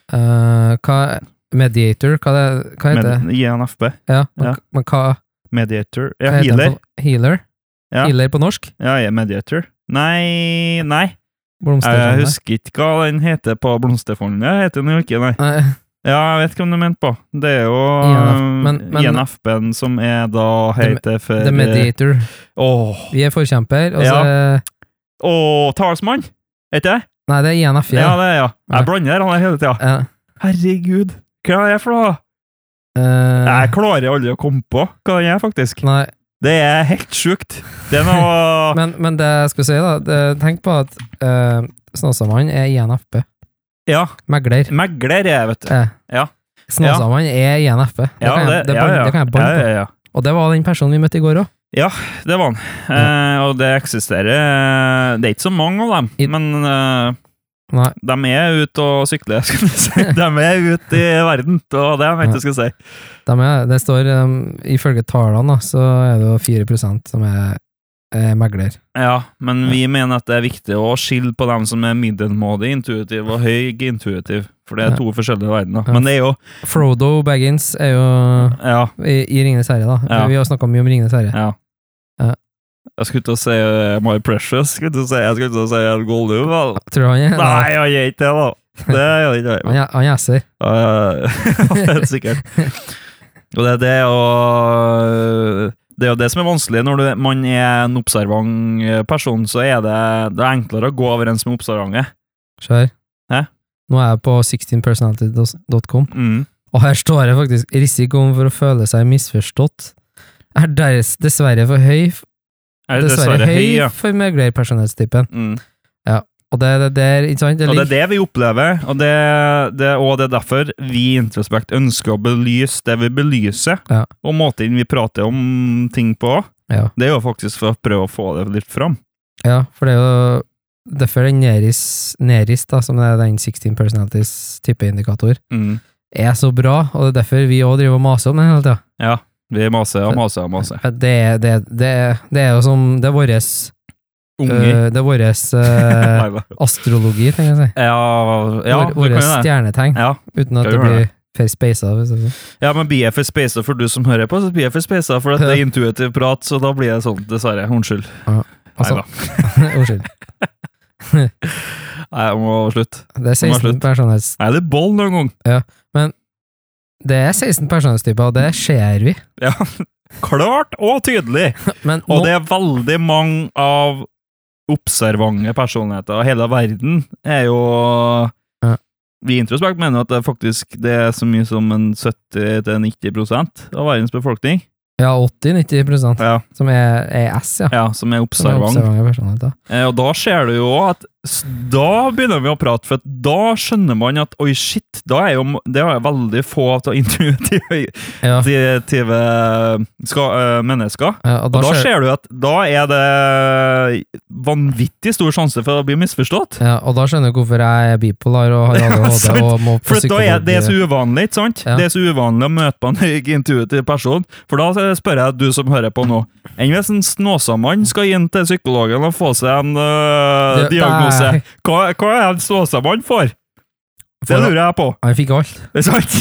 Eh, hva, mediator, hva, det, hva heter det? Med INFP. Ja, men, ja. men hva, Mediator. hva Ja, heter healer. det? på- Healer? Ja. Healer på norsk? Ja, jeg er mediator. Nei, nei. Jeg Blomsterfond. husker ikke hva den heter på blomsterfondet. Jeg heter den jo ikke, nei. Nei, Ja, jeg vet ikke om du mente på. Det er jo eh, INF, E men- men- INFP-en som er da heter for eh, The Mediator. Åh, Vi er forkjemper, og så Åh, talsmann! Er ikke det? Nei, det er INF. Ja, Ja. det er ja. Ja. Jeg blander han hele tida. Ja. Herregud, hva er det for noe? Eh, Jeg klarer aldri å komme på hva den er, faktisk. nei, Det er helt sjukt. Det er noe men, men det jeg skulle si, da det, Tenk på at uh, Snåsamannen er INFP. Ja, Megler. megler er jeg, vet du. Eh. Ja. Snåsamannen er INFP. Det, Ja, kan jeg, det, ja, ban- ja. det kan jeg banne Ja, på. ja, ja. Og det var den personen vi møtte i går òg. Det var han. Eh, og det eksisterer eh, Det er ikke så mange av dem, I- men eh, Nei. de er ute og sykler, skulle jeg si. De er ute i verden, og det var det jeg mente jeg skulle si. De er, det står, um, ifølge tallene, da, så er det jo 4 som er, er megler. Ja, men vi mener at det er viktig å skille på dem som er middelmådig intuitiv og høy intuitiv, for det Ja. er to forskjellige verdener. Ja. Men det er jo Frodo Baggins er jo Ja, i, i Ringenes herre, da. Ja. Vi har snakka mye om Ringenes herre. ja. Ja. Jeg skulle til å si eh, My Precious. Skulle til å si, jeg skulle til å si El Goldu, vel. Tror du han er Nei, jeg gjør ikke det, da. Det gjør jeg ikke. Han er- Han er esser. Ja, Helt sikkert. Og det, det er jo det er jo det som er vanskelig. Når du, man er en observant person, så er det, det er enklere å gå over en som er observant. Se her. Hæ? Nå er jeg på 16personality.com, Mm. og her står det faktisk risikoen for å føle seg misforstått er deres, dessverre for høy, Er det dessverre høy Eh, ja. for meglerpersonellstypen. Mm. Og det er det der, ikke sant? Det Og det er ligger det vi opplever, og det, det, og det er derfor vi i Introspect ønsker å belyse det vi belyser, Ja. og måten vi prater om ting på. Ja. Det er jo faktisk for å prøve å få det litt fram. Ja, for det er jo derfor den Neris, Neris da, som er den 16 personalities tippeindikator, Mm. er så bra, og det er derfor vi òg driver og maser om den hele tida. Ja. Vi maser og maser og maser. Det, er- det, er- det, er- det er jo som Det er vår eh, Unger. det er våres eh, Nei da. astrologi, tenker jeg å si. Ja, ja du våre kan jo det. stjernetegn, Ja. uten at Ja, det gjør blir for speisa. hvis jeg sier. ja, men BF er spacer for du som hører på, så BF er spacer for at det er intuitiv prat, så da blir det sånn, dessverre. Unnskyld. Altså, Neida. Unnskyld. Nei, jeg må slutte. Det er 16 slutt. personlighets... Er det boll noen gang? Det er 16 personlighetstyper, og det ser vi. Ja, klart og tydelig! Men Og nå- det er veldig mange av observante personligheter, og hele verden er jo Ja. Vi i Introspekt mener at det faktisk det er så mye som en 70-90 av verdens befolkning Ja, 80-90 ja, som er, er S, ja. ja, som er Som er observant. observante personligheter. Eh, Og da ser du jo at s- Da begynner vi å prate, for at da skjønner man at oi, shit, da er jo m- Det er jo veldig få av intuitive Ja, intuitive ska- eh, mennesker. ja, og da, Og da ser, ser du at da er det vanvittig stor sjanse for å bli misforstått. ja, og da skjønner du hvorfor jeg er bipolar og har ADHD sant. og må For på at da er det er så psykolog. uvanlig ikke sant? Ja. Det er så uvanlig å møte på en høy intuitiv person. For da spør jeg du som hører på nå Enn hvis en snåsamann skal inn til psykologen og få seg en øh, Det- det pose. Hva, hva er det Ståsamannen får? Det Får- lurer jeg på. Han fikk alt. Det er sant?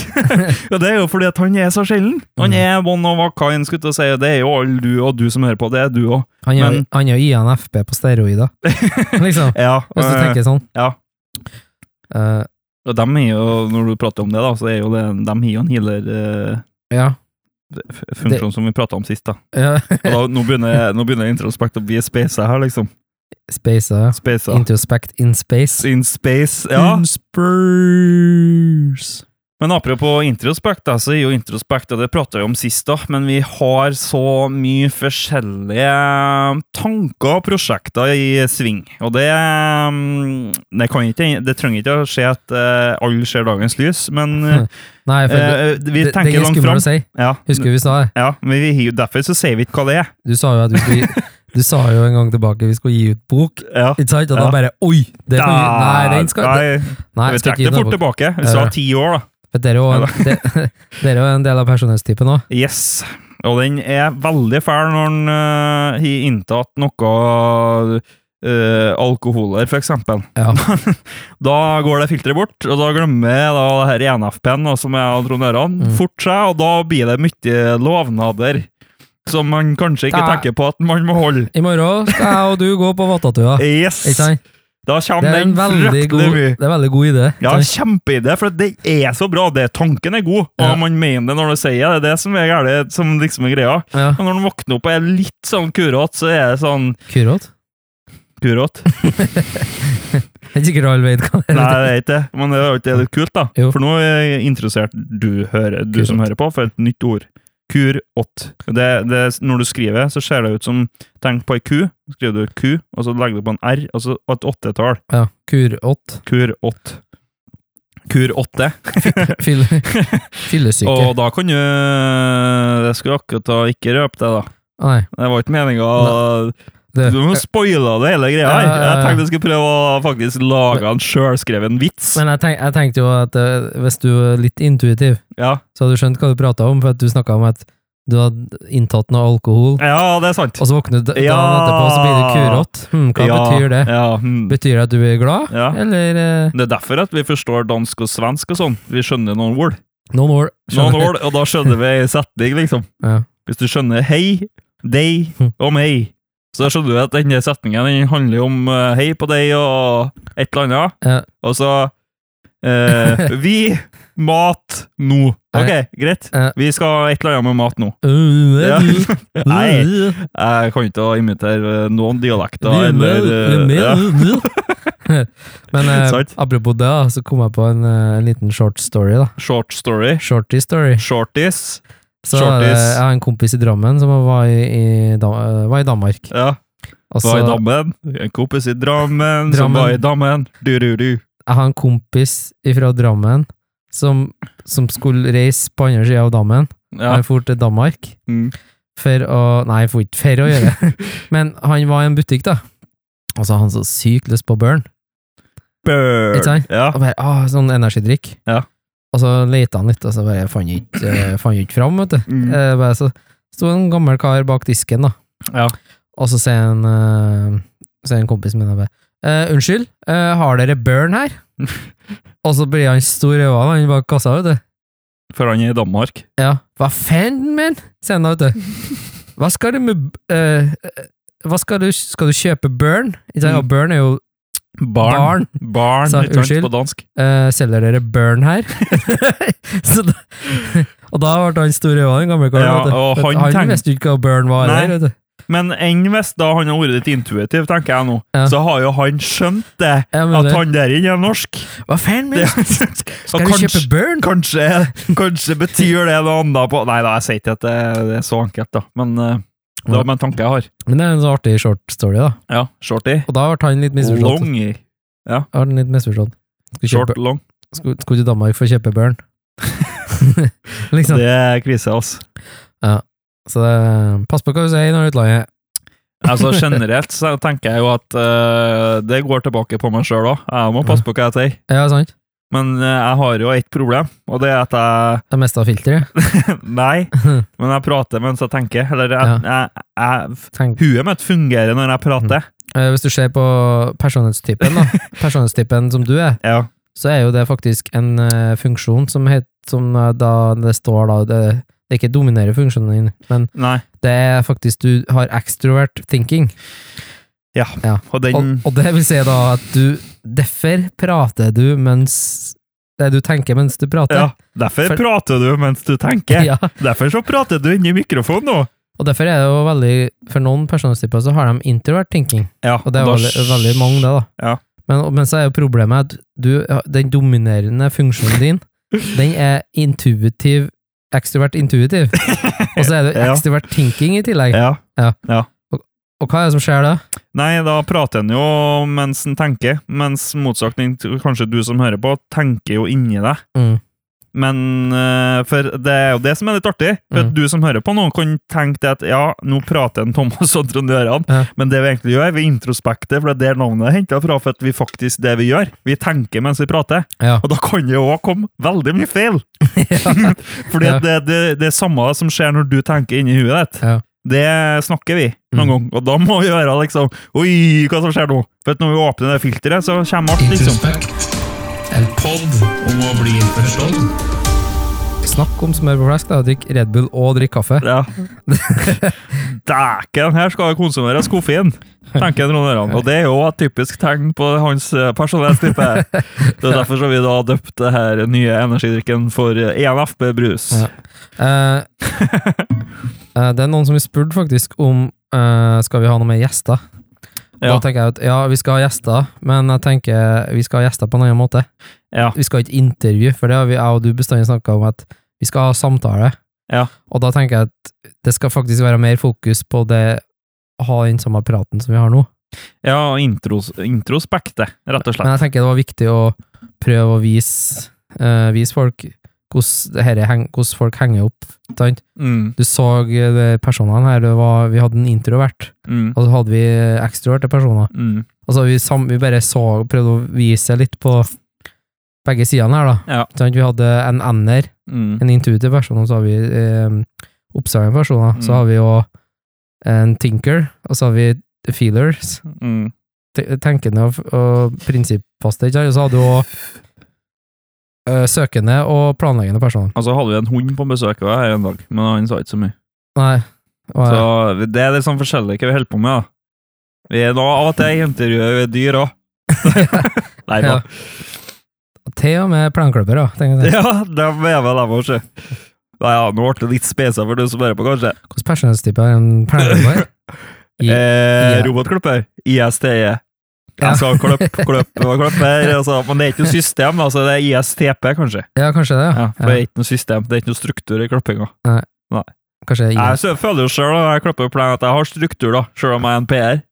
ja, det er jo fordi at han er så sjelden. Han Mm. er one of a kind, skulle jeg til å si. og Det er jo alle du og du som hører på. Det er du òg. Han er jo Men- han er jo INFP på steroider. liksom, Ja, hvis du øh, tenker sånn. ja. Eh, og dem er jo, når du prater om det, da, så er jo det, dem har jo en healer-funksjon ja. som vi prata om sist. da. ja. Og da nå begynner, nå begynner introspekt å bli space her, liksom. Space, ja. Space, Introspect in space. In space, ja. In space. Men apropos introspekt, da, så er jo introspekt, og det pratet vi om sist, da, men vi har så mye forskjellige um, tanker og prosjekter i sving. Og det, mm, det, kan ikke, det trenger ikke å skje at eh, alle ser dagens lys, men eh, Nei, for det, eh, vi det, det tenker er langt skummelt fram. å si. Ja, Husker du vi sa det? ja, men vi, vi- derfor så sier vi ikke hva det er. Du sa jo at vi skulle, du sa jo en gang tilbake vi skulle gi ut bok. Ja. Ikke sant? Og da Ja. bare Oi! Det kan vi, nei, den skal Nei, Nei, vi jeg skal trekker ikke gi det fort noe bok. tilbake. Vi sa Ja. ti år, da. For dere er jo en, det- dere er jo en del av personlighetstypen òg. Yes. Og den er veldig fæl når den øh, har inntatt noe øh, alkoholer, for eksempel. Ja. da går det filteret bort, og da glemmer jeg da det her ENFP-en, og som er av Trond Øran, Mm. fort seg, og da blir det mye lovnader som man kanskje ikke Da- tenker på at man må holde. I morgen skal jeg og du gå på Vattatua. Yes! Ikke sant? Da Det kommer er den en veldig fryktelig god, mye. det er en veldig god idé. ikke Ja, sant? kjempeidé, for det er så bra. Det, tanken er god, og Ja. man mener det når du sier det. Det er det som er gærent, som liksom er greia. Ja. Og når den våkner opp og er litt sånn kurot, så er det sånn Kurot? Kurot? Det er ikke sikkert alle vet hva det Nei, er. det er ikke det. Men det er jo ikke litt kult, da. Jo. For nå er jeg interessert du, hører, du som Kurot. hører på, for et nytt ord. Kurot. Det, det, når du skriver, så ser det ut som Tenk på ei ku, så skriver du ku, og så legger du på en r, og så et åttetall. Ja, Kurot. Kurot. Kur åtte. Fyll, fyllesyke. Og da kan du Jeg skulle akkurat da ikke røpe det, da. Nei, Det var ikke meninga det, Du må spoile det hele greia her. Ja, ja, ja. Jeg tenkte jeg skulle prøve å faktisk lage en sjølskreven vits. men jeg, tenk, jeg tenkte jo at eh, hvis du er litt intuitiv, Ja. så hadde du skjønt hva du prata om, for at du snakka om at du hadde inntatt noe alkohol, ja, det er sant. og så våkner du da- dagen Ja. etterpå, og så blir du kurot. Hm, hva ja, betyr det? Ja, hmm. Betyr det at du er glad, ja. eller eh, Det er derfor at vi forstår dansk og svensk og sånn. Vi skjønner noen ord. noen år? Noen ord, Og da skjønner vi en setning, liksom. Ja. Hmm. Hvis du skjønner hei, deg og meg, så skjønner du at denne setningen den handler om eh, hei på deg og et eller annet. Ja. Og så eh, Vi mat nå. Ok, greit. Ja. Vi skal et eller annet med mat nå. Øh, Ja. øh, øh, Nei, øh. jeg kan ikke imitere eh, noen dialekter. Mye mer, Eller, mye eh, ja. mer. Men eh, Sant. apropos det, da, så kom jeg på en, eh, en liten short story. da. Short story. Shorty story. Shorties. Så er det, Shorties. jeg har en kompis i Drammen som var i, i, Da- eh, var i Danmark. Ja. Og så- var i Dammen. En kompis i Drammen som Drammen. var i Dammen. Du, du, du. jeg har en kompis fra Drammen som, som skulle reise på andre sida av dammen. Ja. Han for til Danmark Mm. for å Nei, for ikke for å gjøre det. Men han var i en butikk, da. Og så hadde han så sykt lyst på børn. Ikke sant? Ja. Og bare, ah, sånn energidrikk. Ja. Og så leita han litt, og så bare fant jeg ikke, eh, fant jeg ikke fram, vet du. Mm. Eh, bare, så sto en gammel kar bak disken, da. Ja. Og så sier en, eh, sier en kompis min bare eh, Unnskyld, eh, har dere børn her? og så blir han stor i øynene, han bak kassa, vet du. For han er i Danmark. Ja. Hva faen, min? sier han da, vet du. Hva skal du med b- eh, eh, Hva skal du Skal du kjøpe børn? Ikke sant? Mm. Og børn er jo Barn. Barn, Sa- ikke sant, unnskyld. på dansk. Eh, selger dere Burn her? så da, og da ble han stor i øynene, den gamle karen. Ja, vet du. og Vet du, han tenk- visste jo ikke hva Burn var. Nei. Der, vet du. Men enn hvis da han har vært litt intuitiv, tenker jeg nå, Ja. så har jo han skjønt det, Ja, men at det- han der inne er norsk. Hva faen, men? Det, Skal du kjøpe Burn? Kanskje, kanskje betyr det noe annet på Nei da, jeg sier ikke at det, det er så enkelt, da. Men eh, det var bare en tanke jeg har. Men det er en så artig short story, da. Ja, shorty. Og da ble han litt misforstått. Long. Da ble han litt misforstått. Skulle, Short kjøpe, long. skulle, skulle til Danmark for å kjøpe Burn? liksom. Det er krise, altså. Så det, pass på hva du sier når du er i utlandet. Altså Generelt så tenker jeg jo at eh, det går tilbake på meg sjøl òg. Jeg må passe på hva jeg sier. Ja, sant? Men eh, jeg har jo ett problem, og det er at jeg Det meste av filteret. Nei, men jeg prater mens jeg tenker. Eller jeg, jeg, jeg, Tenk, Huet mitt fungerer når jeg prater. eh, hvis du ser på personlighetstypen, da, personlighetstypen som du er, Ja. så er jo det faktisk en eh, funksjon som heter som eh, da det står da det, det ikke dominerer funksjonen din, men Nei. det er faktisk du har extrovert thinking. Og den Og, og det vil si da at du Derfor prater du mens Det du tenker mens du Ja. prater. Derfor For- prater du mens du tenker. Ja. Derfor så prater du inni mikrofonen nå. Og derfor er det jo veldig For noen personlighetstyper så har de introvert thinking, Ja, og det er da jo veldig, veldig mange, det, da. Ja. Men, men så er jo problemet at du, den dominerende funksjonen din, den er intuitiv Ekstrovert intuitiv. Og så er det Ja. ekstrovert thinking i tillegg. Ja. Og hva er det som skjer da? Nei, da prater en jo mens en tenker, mens motsetning til kanskje du som hører på, tenker jo inni deg. Mm. Men eh, for det er jo det som er litt artig. For at Mm. Du som hører på nå, kan tenke det at ja, nå prater en Thomas og Trond Gøran, Ja. men det vi egentlig gjør, vi introspekter, for det er der navnet er henta fra. For at vi faktisk det vi gjør, vi tenker mens vi prater. Ja. Og da kan det jo òg komme veldig mye feil! Fordi Ja. at det, det, det er samme som skjer når du tenker inni huet ditt. Ja. Mm. Det snakker vi noen gang, og da må vi gjøre liksom Oi, hva som skjer nå? For at når vi åpner det filteret, så kommer alt, liksom. Introspekt. En podd om å bli forstått. Snakk om smør på flesk, da. Drikk Red Bull og drikk kaffe. Ja. Dæken, her skal det konsumeres koffein, tenker Trond Øran. Og det er jo et typisk tegn på hans eh, personlighetstype. Det er derfor så vi da døpte det her nye energidrikken for E ENFB Brus. Ja. Eh, eh, det er noen som har spurt faktisk om eh, skal vi ha noe med gjester. Ja. Da tenker jeg at ja, vi skal ha gjester, men jeg tenker vi skal ha gjester på en annen måte. Ja. Vi skal ha et intervju, for det har vi jeg og du bestandig snakka om, at vi skal ha samtale. Ja. Og da tenker jeg at det skal faktisk være mer fokus på det å ha den samme praten som vi har nå. Ja, og intros, introspektet, rett og slett. Men jeg tenker det var viktig å prøve å vise, eh, vise folk hvordan, det her heng, hvordan folk henger opp. Sant? Mm, Du så eh, de personene her, det var, vi hadde en introvert, mm, og så hadde vi ekstroverte personer. mm. Altså, vi, sam, vi bare så, prøvde å vise litt på begge sidene her, da. Ja. Sant? vi hadde en ender, Mm. en intuitiv person, og så har vi eh, oppsagende personer. Mm. Så har vi jo en thinker, og så har vi the feelers, Mm. te- tenkende og, og prinsippfaste, ikke sant? Og så hadde du også eh, søkende og planleggende personer. Og så Altså, hadde vi en hund på besøk av her en dag, men han sa ikke så mye. Nei. Og, Så det er litt sånn forskjellig hva vi holder på med, da. Vi er da av og til intervjuer vi dyr òg. Nei da. Ja. Til og med plenklubber, da. tenker jeg. Ja, de er vel dem også. Nei, ja, nå ble det litt spesa for du som hører på, kanskje. Hvordan personlighetstype er en plenklubber? I- Eh, ja. Robotklipper. ISTE. Ja. Jeg E. sa kløpp, kløpp og kløpper, altså, men det er ikke noe system, altså det er ISTP, kanskje. Ja, kanskje det, Ja, ja. for det er ikke noe system, det er ikke noe struktur i klippinga. Kanskje i Jeg sø- føler jo sjøl når jeg klipper plan at jeg har struktur, da, sjøl om jeg er en PR.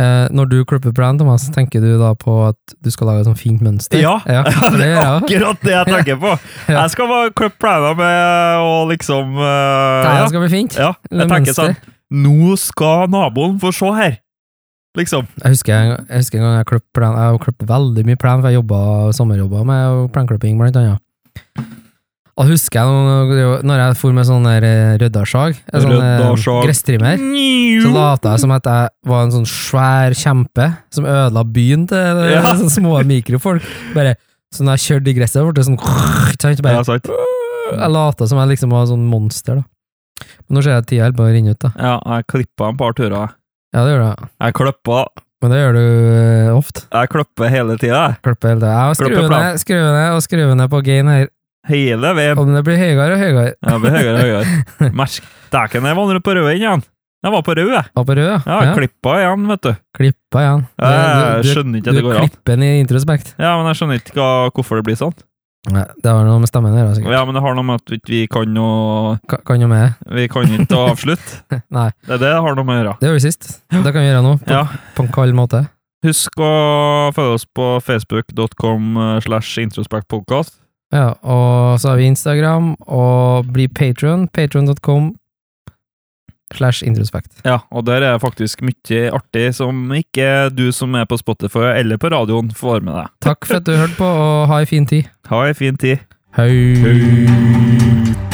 Eh, når du klipper plan, Thomas, tenker du da på at du skal lage et sånt fint mønster? Ja. for det gjør jeg også. Akkurat det jeg tenker på! Ja. Jeg skal bare klippe plana med å liksom eh, Det ja. her skal bli fint. ja, Det jeg tenker mønster. sånn Nå skal naboen få se her! Liksom. Jeg husker, en- jeg husker en gang jeg klippet plan, jeg har klippet veldig mye plan, for jeg jobbet sommerjobber med planklipping, blant annet. Og husker jeg når- når jeg for med sånn der eh, røddarsag, en sånn eh, Røddarsag. gresstrimmer, så lata jeg som at jeg var en sånn svær kjempe som ødela byen til eh, Ja. sånne små mikrofolk. Bare, så når jeg kjørte i gresset, ble det sånn, sant, bare, Ja, sant. Jeg lata som jeg liksom var sånn monster, da. Men nå ser jeg at tida holder på å renne ut, da. Ja, jeg klippa en par turer. jeg. Ja, det gjør du. ja. Jeg klippa Men det gjør du eh, ofte. Jeg klipper hele tida, jeg. Klipper hele tida. Jeg Klipper skruer plan. ned, skruer ned og skruer ned på gain her. Hele veien. Og det blir høyere og høyere. Jeg blir høyere og høyere. Mersk. Dæken, jeg vandrer på rød igjen. Jeg var på rød, jeg. Og på rød, Ja, jeg klippa igjen, vet du. Klippa igjen. Du- Jeg du- skjønner ikke du at det går an. klipper den i introspekt. Ja, men jeg skjønner ikke hva, hvorfor det blir sånn. Nei, det har noe med stemmen å gjøre, sikkert. Ja, men det har noe med at vi ikke vi kan å Ka- Kan jo med Vi kan ikke avslutte. det. Nei, Det er det det har noe med å gjøre. det gjorde vi sist. Det kan vi gjøre nå, på, Ja. på en kald måte. Husk å følge oss på facebook.com eh, slash introspektpodkast. Ja, og så har vi Instagram, og bli patron. Patron.com slash introspekt. Ja, og der er det faktisk mye artig som ikke du som er på Spotify eller på radioen får med deg. Takk for at du hørte på, og ha ei en fin tid. Ha ei en fin tid. Hei.